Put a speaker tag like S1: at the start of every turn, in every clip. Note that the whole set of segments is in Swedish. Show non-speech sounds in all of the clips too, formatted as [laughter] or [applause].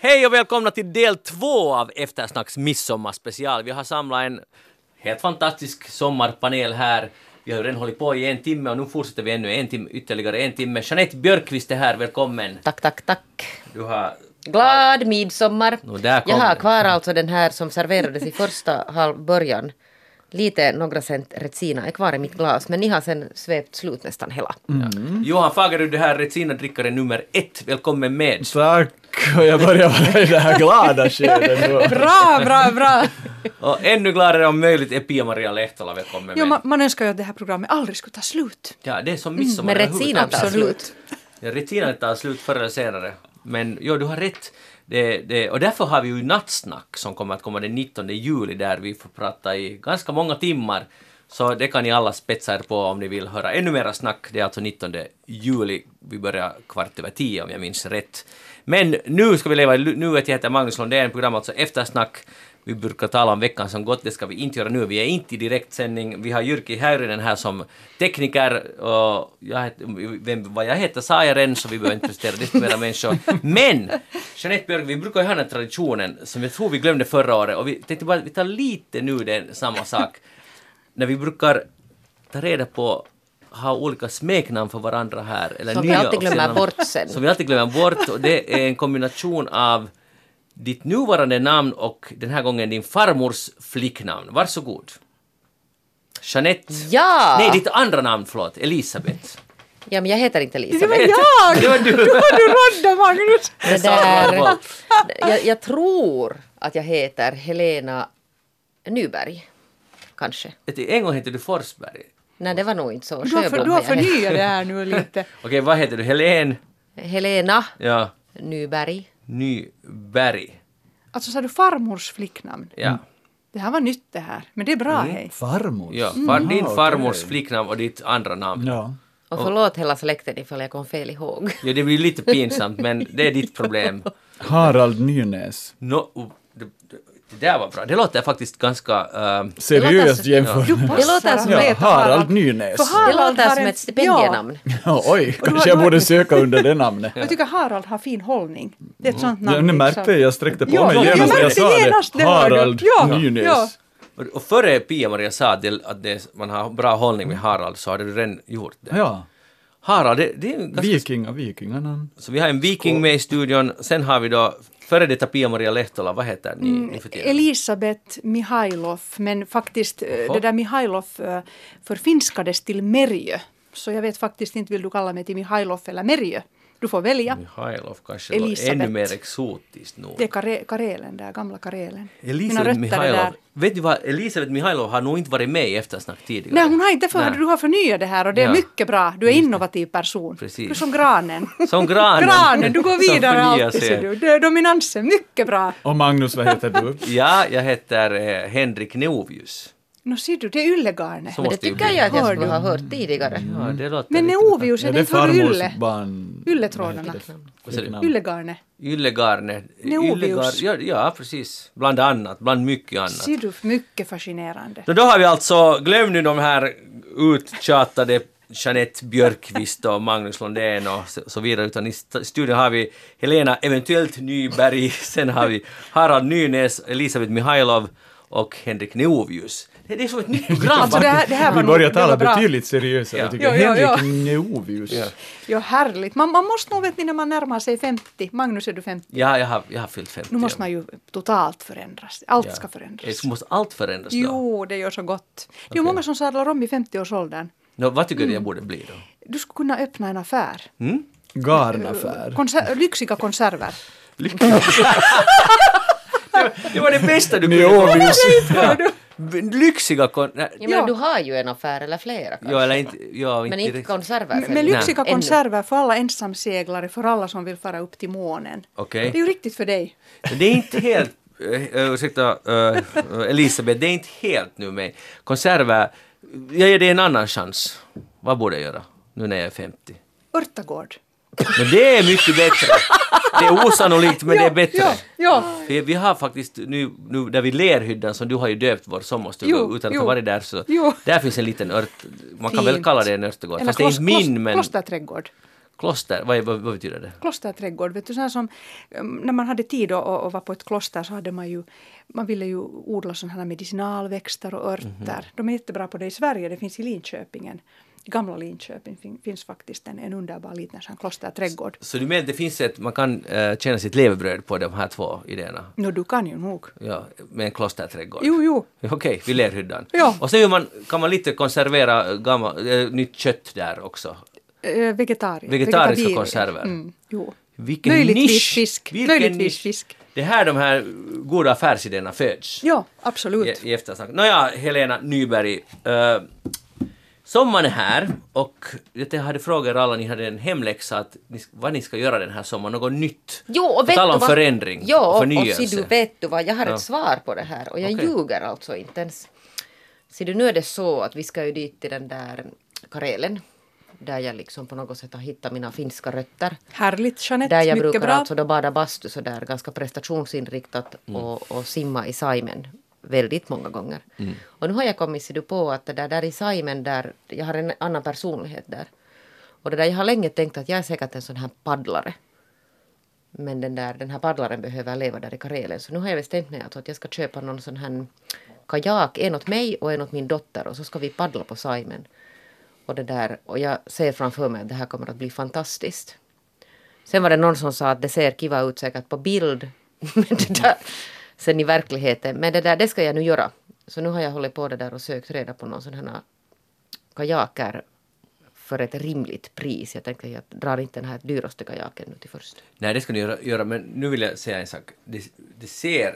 S1: Hej och välkomna till del två av Eftersnacks midsommarspecial. Vi har samlat en helt fantastisk sommarpanel här. Vi har ju redan hållit på i en timme och nu fortsätter vi ännu en timme, ytterligare en timme. Jeanette Björkqvist är här, välkommen.
S2: Tack, tack, tack.
S1: Du har...
S2: Glad midsommar.
S1: Nå, där kom
S2: Jag har
S1: den.
S2: kvar alltså den här som serverades i första halv början. Lite, några cent retsina är kvar i mitt glas, men ni har sen svept slut nästan hela.
S1: Mm. Johan Fagerud, det här Retsina-drickare nummer ett. Välkommen med.
S3: Tack! Och jag börjar vara i det här glada skedet
S4: [laughs]
S3: nu.
S4: Bra, bra, bra!
S1: Och ännu gladare om möjligt är Pia-Maria Lehtola, välkommen
S4: Jo,
S1: med.
S4: man, man önskar ju att det här programmet aldrig skulle ta slut.
S1: Ja, det är som midsommar
S2: Men Retsina
S1: överhuvudtaget.
S2: tar slut.
S4: Absolut.
S1: Ja, rutinen tar slut förr eller senare. Men jo, du har rätt. Det, det, och därför har vi ju Nattsnack som kommer att komma den 19 juli där vi får prata i ganska många timmar. Så det kan ni alla spetsa er på om ni vill höra ännu mera snack. Det är alltså 19 juli. Vi börjar kvart över tio om jag minns rätt. Men nu ska vi leva i lu- nuet. Jag heter Magnus Lundén, program alltså Eftersnack. Vi brukar tala om veckan som gått, det ska vi inte göra nu. Vi är inte i direktsändning. Vi har Jyrki Häyrynen här som tekniker. Och jag heter, vem, vad jag heter sa jag redan, så vi behöver inte prestera det för mera människor. Men! Jeanette Björk, vi brukar ju ha den här traditionen som jag tror vi glömde förra året och vi tänkte bara att vi tar lite nu den samma sak. När vi brukar ta reda på ha olika smeknamn för varandra här. Eller
S2: Som vi
S1: nya
S2: alltid glömmer
S1: officiella namn.
S2: bort sen.
S1: Som vi alltid glömmer bort och det är en kombination av ditt nuvarande namn och den här gången din farmors flicknamn. Varsågod. Jeanette.
S2: Ja!
S1: Nej, ditt andra namn, förlåt. Elisabeth.
S2: Ja, men jag heter inte
S4: Det var
S2: Elisabeth.
S4: jag!
S1: Det var du.
S4: Det var du rodda, Magnus!
S2: Det
S1: sa jag
S2: där,
S1: bara.
S2: jag, jag tror att jag heter Helena Nyberg, kanske.
S1: Vet du, En gång hette du Forsberg.
S2: Nej, det var nog inte så.
S4: Du har, för,
S2: Sjöblom
S4: du har
S2: jag heter.
S4: förnyat det här nu lite.
S1: Okej, vad heter du? Helen
S2: Helena
S1: ja,
S2: Nyberg.
S1: Nyberg.
S4: Alltså, sa du farmors flicknamn?
S1: Ja.
S4: Det här var nytt det här, men det är bra, hej.
S3: Farmor?
S1: ja. Far, din
S3: Ah,
S1: farmors
S3: okej.
S1: flicknamn och ditt andra namn.
S3: Ja.
S2: Och förlåt hela släkten ifall jag kom fel ihåg.
S1: Ja, det blir lite pinsamt, men det är ditt
S4: [laughs]
S1: problem.
S3: Harald Nynäs.
S1: No, oh, det, det- det där var bra. Det låter faktiskt ganska... ehm,
S3: Seriöst
S2: så-
S3: jämfört.
S4: Du passar
S2: låter
S4: att
S2: som-
S3: Ja,
S4: heta
S3: Harald Nynäs.
S4: För
S2: Det
S4: Harald
S2: låter
S4: har
S2: som
S4: en-
S2: ett stipendienamn.
S3: Ja, oj,
S4: du har-
S3: kanske jag
S4: du har-
S3: borde söka under det namnet.
S4: Jag tycker Harald har fin hållning. Det är ett sånt namn. liksom.
S3: Ja, ni märkte, jag sträckte på mig
S4: Ja, jag
S3: genast när jag
S4: märkte
S3: sa
S4: genast
S3: det.
S4: det, hörde du.
S3: Harald
S4: Ja, ja.
S3: Nynäs.
S1: och, och före Pia-Maria sa att, det, att det, man har bra hållning med Harald så hade du redan gjort det.
S3: Ja,
S1: Harald, det, det är en ganska...
S3: vikinga, vikingarna.
S1: Så vi har en viking med i studion. Sen har vi då före detta Pia-Maria Lehtola. Vad heter ni
S4: Mm,
S1: nu för tiden?
S4: Elisabeth Mihailov, men faktiskt eh,
S1: Jaha.
S4: det där Mihailov eh, förfinskades till Merjö. Så jag vet faktiskt inte, vill du kalla mig till Mihailov eller Merjö? Du får välja.
S1: Mihailov kanske låter
S4: Elisabeth.
S1: ännu mer exotiskt nog.
S4: Det är Kare- Karelen där, gamla Karelen. Mina
S1: Elisabeth
S4: rötter är
S1: Mihailov.
S4: där.
S1: Vet du vad, Elisabeth Mihailov har nog inte varit med i Eftersnack tidigare.
S4: Nej, hon har inte för
S1: Nej.
S4: du har förnyat det här och det är
S1: Ja.
S4: mycket bra. Du är innovativ person.
S1: Precis.
S4: Du är som granen.
S1: Som granen.
S4: granen, du går
S1: Som
S4: vidare
S1: förnyar
S4: alltid.
S1: sig.
S4: ser Du. Det är dominansen, mycket bra.
S3: Och Magnus, vad heter
S4: [laughs]
S3: du?
S1: Ja, jag heter eh, Henrik Neovius.
S4: Nu ser du, det är yllegarne.
S1: Så
S2: Men det
S1: måste ju
S2: tycker
S1: bli.
S2: jag att jag
S4: Hör
S2: skulle
S4: du?
S2: ha hört tidigare.
S1: Ja, det låter
S4: Men
S1: lite-
S4: Neovius,
S3: Ja,
S4: är
S3: det
S4: det
S3: är
S4: inte hör ylle?
S3: farmors barn...
S4: Ylletrådarna.
S1: Vad säger du?
S4: Yllegarne.
S1: Yllegarne.
S4: Neovius.
S1: Yllegar- eh, Ja, ja, precis. Bland annat, bland mycket annat.
S4: Ser du, mycket fascinerande.
S1: Då, då har vi alltså, glöm nu de här uttjatade Jeanette Björkqvist och Magnus Lundén och så, så vidare, utan i st- studion har vi Helena eventuellt Nyberg, [laughs] sen har vi Harald Nynäs, Elisabeth Mihailov och Henrik Neovius. Det, det är som ett nytt program!
S4: Alltså det här, det här var
S3: Vi
S4: nog-
S3: börjar
S4: det var
S3: tala
S4: bra.
S3: betydligt seriösare,
S1: Ja.
S3: tycker jag.
S4: Ja, ja, ja.
S3: Henrik Neovius.
S4: Ja, härligt. Man, man måste nog, vet ni, när man närmar sig 50, Magnus är du 50,
S1: Ja, jag har, jag har fyllt 50.
S4: nu måste man ju totalt förändras. Allt ska
S1: Ja.
S4: förändras.
S1: Så Måste allt förändras då?
S4: Jo, det gör så gott. Det är ju många som sadlar om i 50-årsåldern.
S1: Nå, vad
S2: Mm.
S1: tycker du jag borde bli då?
S4: Du skulle kunna öppna en affär.
S3: Garnaffär.
S4: Konser-
S1: [laughs]
S4: lyxiga konserver.
S1: Det var det bästa du kunde
S3: Neovius.
S1: Ja. Lyxiga kon... nej,
S2: Ja, men
S4: Ja.
S2: du har ju en affär eller flera kanske.
S1: Jo, eller inte... Jo, inte
S2: men inte
S1: direkt.
S2: konserver.
S4: Men lyxiga
S2: Ännu.
S4: konserver för alla ensamseglare, för alla som vill fara upp till månen.
S1: Okej.
S4: Det är ju riktigt för dig.
S1: Men Det är inte helt, eh, eh, ursäkta eh, Elisabeth, det är inte helt nu mig. Konserver, jag ger dig en annan chans. Vad borde jag göra nu när jag är 50?
S4: Örtagård.
S1: Men det är mycket bättre. Det är osannolikt men det är bättre.
S4: Ja, ja.
S1: Vi, vi har faktiskt nu, nu där vid Lerhyddan som du har ju döpt vår sommarstuga
S4: Jo,
S1: utan att
S4: jo.
S1: ha varit där så
S4: Jo.
S1: där finns en liten ört, man kan väl
S4: Fint.
S1: kalla det en örtegård.
S4: Eller
S1: Fast det är
S4: klos-
S1: inte min
S4: klos-
S1: men
S4: Klosterträdgård.
S1: Kloster, vad, vad, vad betyder det?
S4: Klosterträdgård, vet du, så här som, eh, när man hade tid och, och var på ett kloster så hade man ju, man ville ju odla sådana här medicinalväxter och örter.
S1: Mhm.
S4: De är jättebra på det i Sverige, det finns i Linköpingen. I gamla Linköping fin, finns faktiskt en, en underbar liten sån här klosterträdgård.
S1: Så du menar att det finns ett, man kan äh, tjäna sitt levebröd på de här två idéerna?
S4: Nå, du kan ju nog.
S1: Ja, med en klosterträdgård?
S4: Jo, jo.
S1: [laughs] Okej, vid lerhyddan.
S4: Ja.
S1: Och sen gör man, kan man lite konservera gammal, äh, nytt kött där också.
S4: Eh, Vegetarier.
S1: Vegetariska
S4: vegetabilier.
S1: konserver.
S4: Mm, jo.
S1: Vilken
S4: Möjligtvis
S1: nisch!
S4: fisk.
S1: Vilken
S4: Möjligtvis
S1: nisch.
S4: fisk.
S1: Det är här de här goda affärsidéerna föds.
S4: Ja, absolut.
S1: I, i eftersnack. Nåja, Helena Nyberg. Uh, sommaren är här och jag hade frågor alla, ni hade en hemläxa att ni, vad ni ska göra den här sommaren, något nytt.
S2: Jo, och
S1: På
S2: vet
S1: tal
S2: du
S1: om
S2: vad-
S1: förändring
S2: Jo,
S1: och
S2: och, och
S1: förnyelse.
S2: si du vet du vad, jag har
S1: Ja.
S2: ett svar på det här och jag
S1: Okej.
S2: ljuger alltså inte ens. Si du, nu är det så att vi ska ju dit till den där Karelen, där jag liksom på något sätt har hittat mina finska rötter.
S4: Härligt Jeanette,
S2: Där jag
S4: mycket
S2: brukar
S4: bra.
S2: alltså då bada bastu sådär ganska prestationsinriktat och, och simma i Saimen väldigt många gånger. Och nu har jag kommit ser du, på att det där, där i Saimen där, jag har en annan personlighet där. Och det där, jag har länge tänkt att jag är säkert en sån här paddlare. Men den, där, den här paddlaren behöver leva där i Karelen. Så nu har jag bestämt mig alltså att jag ska köpa någon sån här kajak. En åt mig och en åt min dotter. Och så ska vi paddla på Saimen. Och, det där, och jag ser framför mig att det här kommer att bli fantastiskt. Sen var det någon som sa att det ser kiva ut säkert på bild. [laughs] Men det där, sen i verkligheten. Men det där, det ska jag nu göra. Så nu har jag hållit på det där och sökt reda på någon sån här kajaker för ett rimligt pris. Jag tänkte jag drar inte den här dyraste kajaken nu till först.
S1: Nej, det ska ni göra, göra, men nu vill jag säga en sak. Det, det ser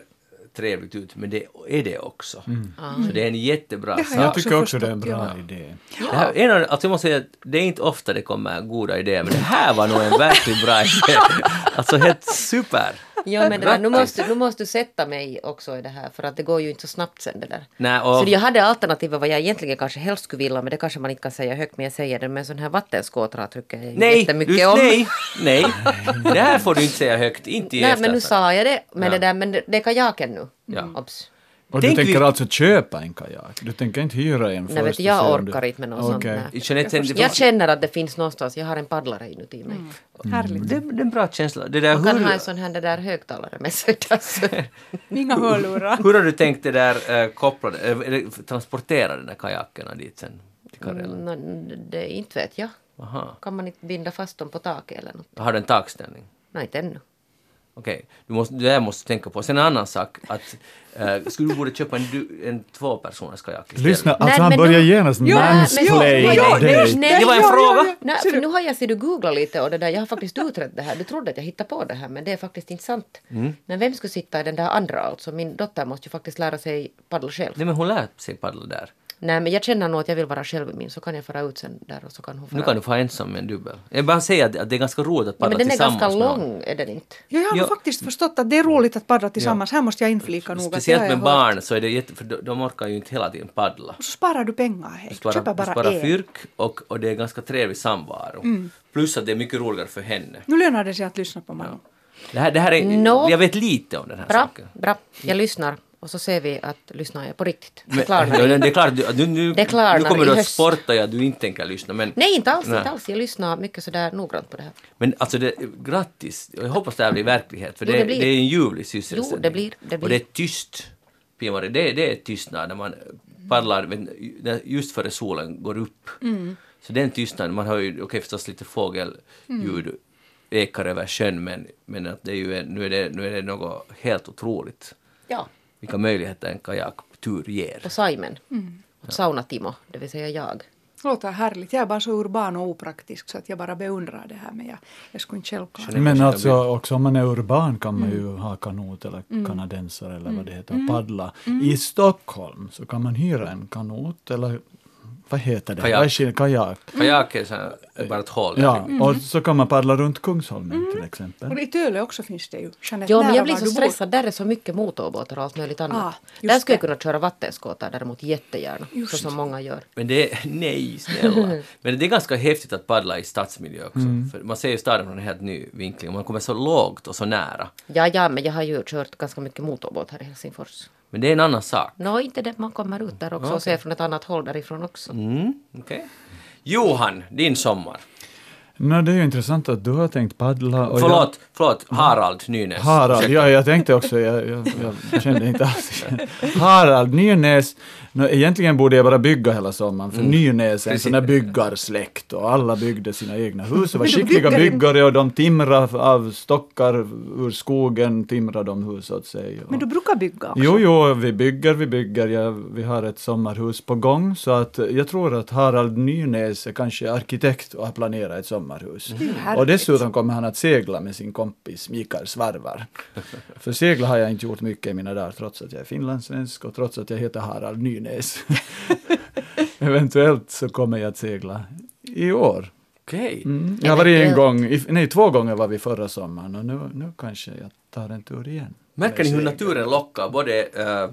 S1: trevligt ut, men det är det också. Så det är en jättebra
S4: Det har
S1: sak.
S4: jag
S3: Jag tycker också
S4: förstått,
S3: det är en bra
S4: ja.
S3: idé.
S1: Det här, en, av- alltså jag måste säga att det är inte ofta det kommer goda idéer, men det här var nog en verkligt bra idé.
S2: [laughs]
S1: Alltså helt super!
S2: Ja, men det där, nu,
S1: Grattis.
S2: måste, nu måste du sätta mig också i det här för att det går ju inte så snabbt sen det där.
S1: Nej, och,
S2: Så jag hade alternativet vad jag egentligen kanske helst skulle vilja men det kanske man inte kan säga högt men jag säger det men sån här vattenskotrar tycker jag
S1: nej,
S2: jättemycket
S1: du,
S2: om.
S1: nej, nej, det här får du inte säga högt, inte i
S2: Nej men nu
S1: eftersnack.
S2: sa jag det. Men
S1: alltså. Ja.
S2: det där men det, det är kajaken nu. Mm.
S1: Ja.
S2: Obs.
S3: Och
S1: Tänk
S3: du tänker
S1: vi-
S3: alltså köpa en kajak? Du tänker inte hyra en först?
S2: Nej vet du,
S3: och
S2: jag
S3: se om du-
S2: orkar inte med något sånt.
S3: Okej.
S2: Nej.
S1: Jeanette, det,
S2: Jag
S1: finns-
S2: känner att det finns någonstans, jag har en paddlare inuti mig.
S3: Mm.
S4: Härligt.
S1: det, det är en bra känsla. Det där,
S2: Man kan ha en
S1: hur,
S2: sån här det där högtalare med sig. [laughs]
S1: [laughs]
S2: Alltså.
S4: Inga
S2: [laughs]
S4: hörlurar.
S1: hur har du tänkt det där eh, koppla, eh, eller transportera den där kajakerna dit sen? Till Karelen?
S2: mm, Nå, det inte vet jag.
S1: Aha.
S2: Kan man inte binda fast dem på taket eller något?
S1: Har du en takställning?
S2: Nej inte ännu.
S1: Okej, du måste, det där måste du tänka på. Sen en annan sak, att eh, skulle du borde köpa en, du- en tvåpersoners kajak istället?
S3: Lyssna, alltså
S2: Nej,
S3: han
S2: men
S3: börjar
S2: nu-
S3: genast
S4: Ja, men-
S3: mansplaina
S4: Ja, ja,
S3: dig.
S4: nej,
S1: Det var en
S4: Ja, ja,
S1: fråga!
S4: ja.
S2: Nej, för nu har jag ser du googla lite och det där, jag har faktiskt utrett det här. Du trodde att jag hittade på det här men det är faktiskt inte sant.
S1: Mm.
S2: Men vem skulle sitta i den där andra alltså? Min dotter måste ju faktiskt lära sig paddla själv.
S1: Nej men hon lär sig paddla där.
S2: Nej men jag känner nog att jag vill vara själv i min så kan jag fara ut sen där och så kan hon fara.
S1: Nu kan du få ensam med en dubbel. Jag bara säger att- att det är ganska roligt att
S2: ja,
S1: paddla
S2: men den är
S1: tillsammans
S2: ganska
S1: med någon.
S2: lång är den inte.
S4: Ja, jag har
S1: Ja.
S4: faktiskt förstått att det är roligt att paddla tillsammans. Här måste jag inflika nog. att
S1: Speciellt
S4: det har
S1: med
S4: jag hört.
S1: barn så är det jätte... För de, de orkar ju inte hela tiden paddla.
S4: Och så sparar du pengar. Hej.
S1: Du sparar,
S4: Köper
S1: du
S4: bara
S1: sparar
S4: en.
S1: fyrk och, och det är ganska trevlig samvaro.
S2: Mm.
S1: Plus att det är mycket roligare för henne.
S4: Nu lönar det sig att lyssna på Manu.
S1: Det här, det här är...
S2: Nå.
S1: Jag vet lite om den här
S2: Bra,
S1: saken.
S2: bra. Jag lyssnar och så ser vi att lyssnar jag på riktigt. Det
S1: Mm. Men- [laughs]
S2: klarnar.
S1: Ja, det är klart, du, nu, nu,
S2: Det klarnar
S1: nu kommer
S2: i
S1: du att
S2: höst.
S1: sporta ja, du inte tänker lyssna. Men,
S2: Nej inte alls,
S1: Nej.
S2: inte alls. Jag lyssnar mycket sådär noggrant på det här.
S1: Men alltså, det, grattis! Jag hoppas det här blir verklighet, för
S2: Jo,
S1: det,
S2: det
S1: det,
S2: blir.
S1: är en ljuvlig sysselsättning.
S2: Jo, det blir- det blir.
S1: Och det är tyst. Pimare, det, det är tystnad när man paddlar vet ni, när- just före solen går upp.
S2: Mm.
S1: Så den tystnaden, man hör ju okej förstås lite fågelljud
S2: Mm.
S1: ekar över sjön, men, men att det är ju, en- nu, är det, nu är det något helt otroligt.
S2: Ja.
S1: Vilka möjligheter en kajaktur ger.
S2: Och Simon.
S4: Mm.
S2: Och Saunatimo, det vill säga jag.
S4: Låter härligt. Jag är bara så urban och opraktisk så att jag bara beundrar det här. Men jag, jag skulle inte själv klara det.
S3: Men alltså också om man är urban kan man ju ha kanot eller kanadensare eller vad det heter och paddla. I Stockholm så kan man hyra en kanot eller vad heter det?
S1: Kajak.
S3: Vad är skil- Kajak.
S1: Kajak är så här, bara ett hål.
S3: Ja, och så kan man paddla runt Kungsholmen till exempel.
S4: Och i Töle också finns det ju. Jeanette,
S2: Ja, men
S4: nära
S2: jag blir
S4: var
S2: så
S4: du bor.
S2: stressad. Där är så mycket motorbåtar och allt möjligt annat.
S4: Ah, just
S2: där skulle jag
S4: det.
S2: kunna köra vattenskotrar däremot jättegärna. Så
S4: Just.
S2: som många gör.
S1: Men det, [laughs] nej snälla.
S4: [laughs]
S1: Men det är ganska häftigt att paddla i stadsmiljö också.
S4: Mm.
S1: För man ser ju staden från en helt ny vinkling. Man kommer så lågt och så nära.
S2: Ja, ja, men jag har ju kört ganska mycket motorbåt här i Helsingfors.
S1: Men det är en annan sak.
S2: Nå, inte det. Man kommer ut där också och ser från ett annat håll därifrån också.
S1: Mm, okej. Johan, din sommar.
S3: No, det är ju intressant att du har tänkt paddla. Och
S1: Förlåt, förlåt,
S4: Mm.
S1: Harald Nynäs.
S3: Jag, Harald,
S1: Ursäkta.
S3: ja, jag tänkte också, jag, jag, jag kände inte
S1: [laughs]
S3: alls igen. Harald Nynäs, no, egentligen borde jag bara bygga hela sommaren, för Nynäs är en
S1: Mm. Precis.
S3: sån där byggarsläkt och alla byggde sina egna hus
S1: [laughs]
S3: och var
S4: Men de
S3: skickliga
S4: bygger inte.
S3: byggare och de timrade av stockar ur skogen, timrade de hus åt sig. och-
S4: Men du brukar bygga också.
S3: Jo, jo, vi bygger, vi bygger. Ja, vi har ett sommarhus på gång. Så att eh, jag tror att Harald Nynäs är kanske arkitekt och har planerat ett sommarhus.
S4: Det är ju härligt.
S3: Och dessutom kommer han att segla med sin kompis Mikael Svarvar. För segla har jag inte gjort mycket i mina dagar, trots att jag är finlandssvensk och trots att jag heter Harald Nynäs. Eventuellt så kommer jag att segla i år.
S1: Okej.
S3: Mm. Jag var en
S2: Eventuellt.
S3: gång, i- nej två gånger var vi förra sommaren och nu, nu kanske jag tar en tur igen.
S1: Märker ni hur naturen lockar både eh,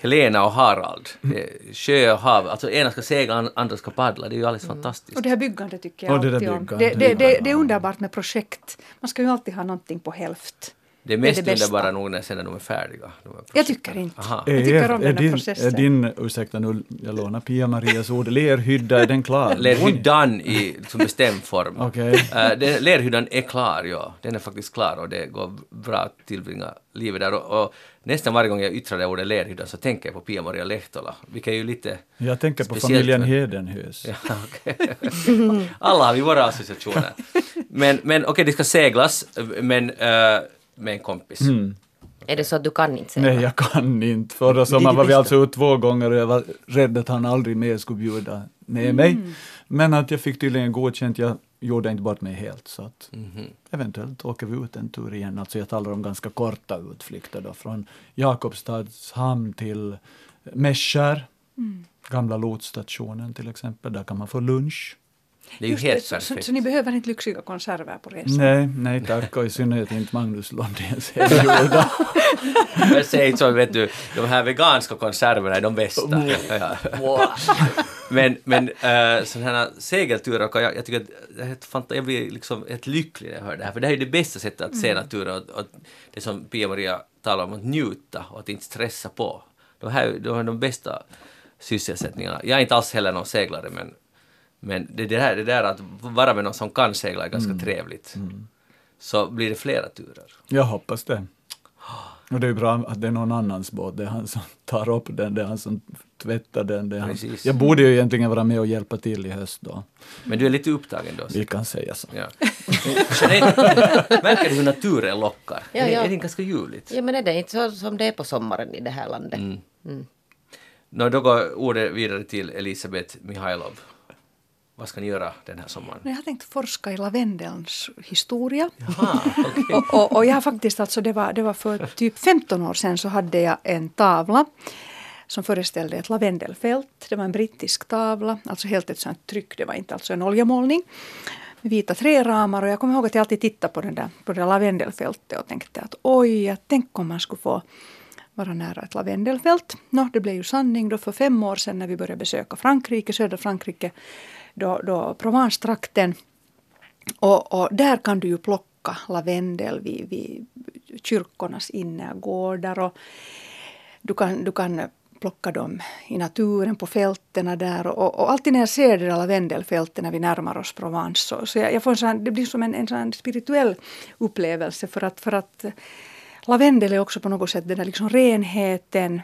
S1: Helena och Harald?
S4: Mm.
S1: Det är Sjö och hav. Alltså ena ska segla, an- andra ska paddla. Det är ju alldeles fantastiskt.
S4: Mm. Och det här byggandet tycker jag
S3: Och det där
S4: alltid om. Det,
S3: byggandet.
S4: det, det, det är underbart med projekt. Man ska ju alltid ha någonting på hälft.
S1: Det är mest
S4: det bästa.
S1: underbara nog när sen när de är färdiga. de här
S4: Jag
S1: projekten.
S4: tycker inte.
S1: Aha.
S4: Jag tycker om den här
S3: din,
S4: processen.
S3: Eh, Är din, ursäkta nu, jag lånar Pia-Marias ord, lerhydda, är den klar?
S1: Lerhyddan i liksom bestämd form.
S3: [laughs] Okej.
S1: Eh, den- lerhyddan är klar, ja. Den är faktiskt klar och det går bra att tillbringa livet där. Och, och nästan varje gång jag yttrar det ordet lerhydda så tänker jag på Pia-Maria Lehtola, vilket är ju lite...
S3: Jag tänker på
S1: speciellt,
S3: familjen
S1: men-
S3: Hedenhös.
S1: Ja, [laughs] okej. Alla har vi våra associationer. Men, men okej, det ska seglas, men eh, med en kompis.
S3: Mm.
S2: Är det så att du kan inte säga?
S3: Nej, jag kan inte. Förra sommaren var vi alltså ut två gånger och jag var rädd att han aldrig mer skulle bjuda ner mig. Men att jag fick tydligen godkänt, jag gjorde inte bort mig helt. Så att eventuellt åker vi ut en tur igen. Alltså jag talar om ganska korta utflykter då, från Jakobstadshamn till Mässkär, gamla lotsstationen till exempel. Där kan man få lunch.
S1: Det är ju
S4: Just
S1: helt
S4: så, så,
S1: perfekt.
S4: så ni behöver inte lyxiga konserver på resan.
S3: Nej, nej tack och i synnerhet inte Magnus Lundéns hemgjorda.
S1: Men säg så, vet du, de här veganska konserverna är de bästa. Ja. men men äh, sådana här segelturer, kan jag, jag tycker att det är helt fanta- jag blir liksom helt lycklig när jag hör det här, för det här är det bästa sättet att se naturen och, och det som Pia-Maria talar om, att njuta och att inte stressa på. De här de är de bästa sysselsättningarna. Jag är inte alls heller någon seglare, men, men det, det, här, det där att vara med någon som kan segla är ganska trevligt. Så blir det flera turer.
S3: Jag hoppas det. Och det är bra att det är någon annans båt, det är han som tar upp den, det är han som tvättar den. Det är han.
S1: Precis.
S3: Jag borde ju egentligen vara med och hjälpa till i höst då.
S1: Men du är lite upptagen då? så-
S3: Vi kan säga så.
S1: Ja. Jeanette, märker du hur naturen lockar?
S2: Ja,
S1: är, det-
S2: ja.
S1: är det ganska ljuvligt?
S2: Ja, men är det inte så som det är på sommaren i det här landet?
S1: Mm. Nå, då går ordet vidare till Elisabeth Mihailov. Vad ska ni göra den här sommaren?
S4: Jag har tänkt forska i lavendelns historia.
S1: Jaha, okej.
S4: [laughs] och, och, och jag har faktiskt, alltså det var, det var för typ 15 år sedan så hade jag en tavla som föreställde ett lavendelfält. Det var en brittisk tavla, alltså helt ett sånt tryck, det var inte alltså en oljemålning. Med vita träramar och jag kommer ihåg att jag alltid tittade på, den där, på det där lavendelfältet och tänkte att oj, att tänk om man skulle få vara nära ett lavendelfält. Nå, det blev ju sanning då för fem år sedan när vi började besöka Frankrike, södra Frankrike, då, då Provence-trakten. Och, och där kan du ju plocka lavendel vid, vid kyrkornas innergårdar. Och du, kan, du kan plocka dem i naturen, på fältena där. Och, och alltid när jag ser det där lavendelfälten när vi närmar oss Provence så, så jag, jag får en sån, det blir som en, en sån spirituell upplevelse för att, för att lavendel är också på något sätt den där liksom renheten.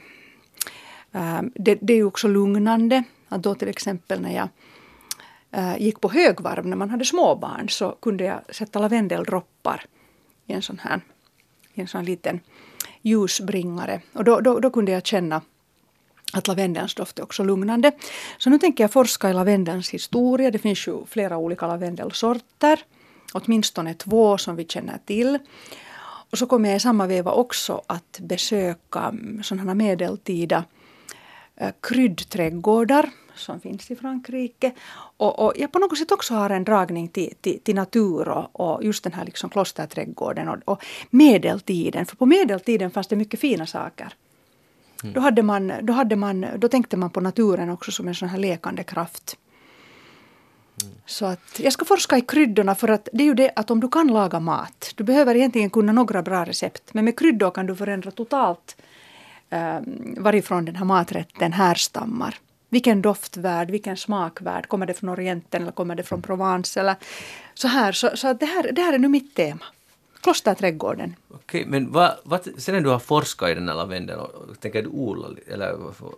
S4: Ehm, Det, det är ju också lugnande. Att då till exempel när jag eh, gick på högvarv när man hade småbarn så kunde jag sätta lavendeldroppar i en sån här i en sån liten ljusbringare. Och då, då, då kunde jag känna att lavendelns doft är också lugnande. Så nu tänker jag forska i lavendelns historia. Det finns ju flera olika lavendelsorter. Åtminstone två som vi känner till. Och så kommer jag i samma veva också att besöka mm, sådana medeltida eh, kryddträdgårdar som finns i Frankrike. Och, och jag på något sätt också har en dragning till, till, till natur och, och just den här liksom klosterträdgården och, och medeltiden. För på medeltiden fanns det mycket fina saker. Då, hade man, då, hade man, då tänkte man på naturen också som en sån här lekande kraft. Så att jag ska forska i kryddorna för att det är ju det att om du kan laga mat, du behöver egentligen kunna några bra recept, men med kryddor ehm, kan du förändra totalt eh, varifrån den här maträtten härstammar. Vilken doftvärld, vilken smakvärld, kommer det från Orienten eller kommer det från Provence? Eller så här, så, så att det, här, det här är nu mitt tema. Klosterträdgården.
S1: Okej, men vad, vad, sen när du har forskat i den här lavendeln, och- tänker du odla li- eller vad-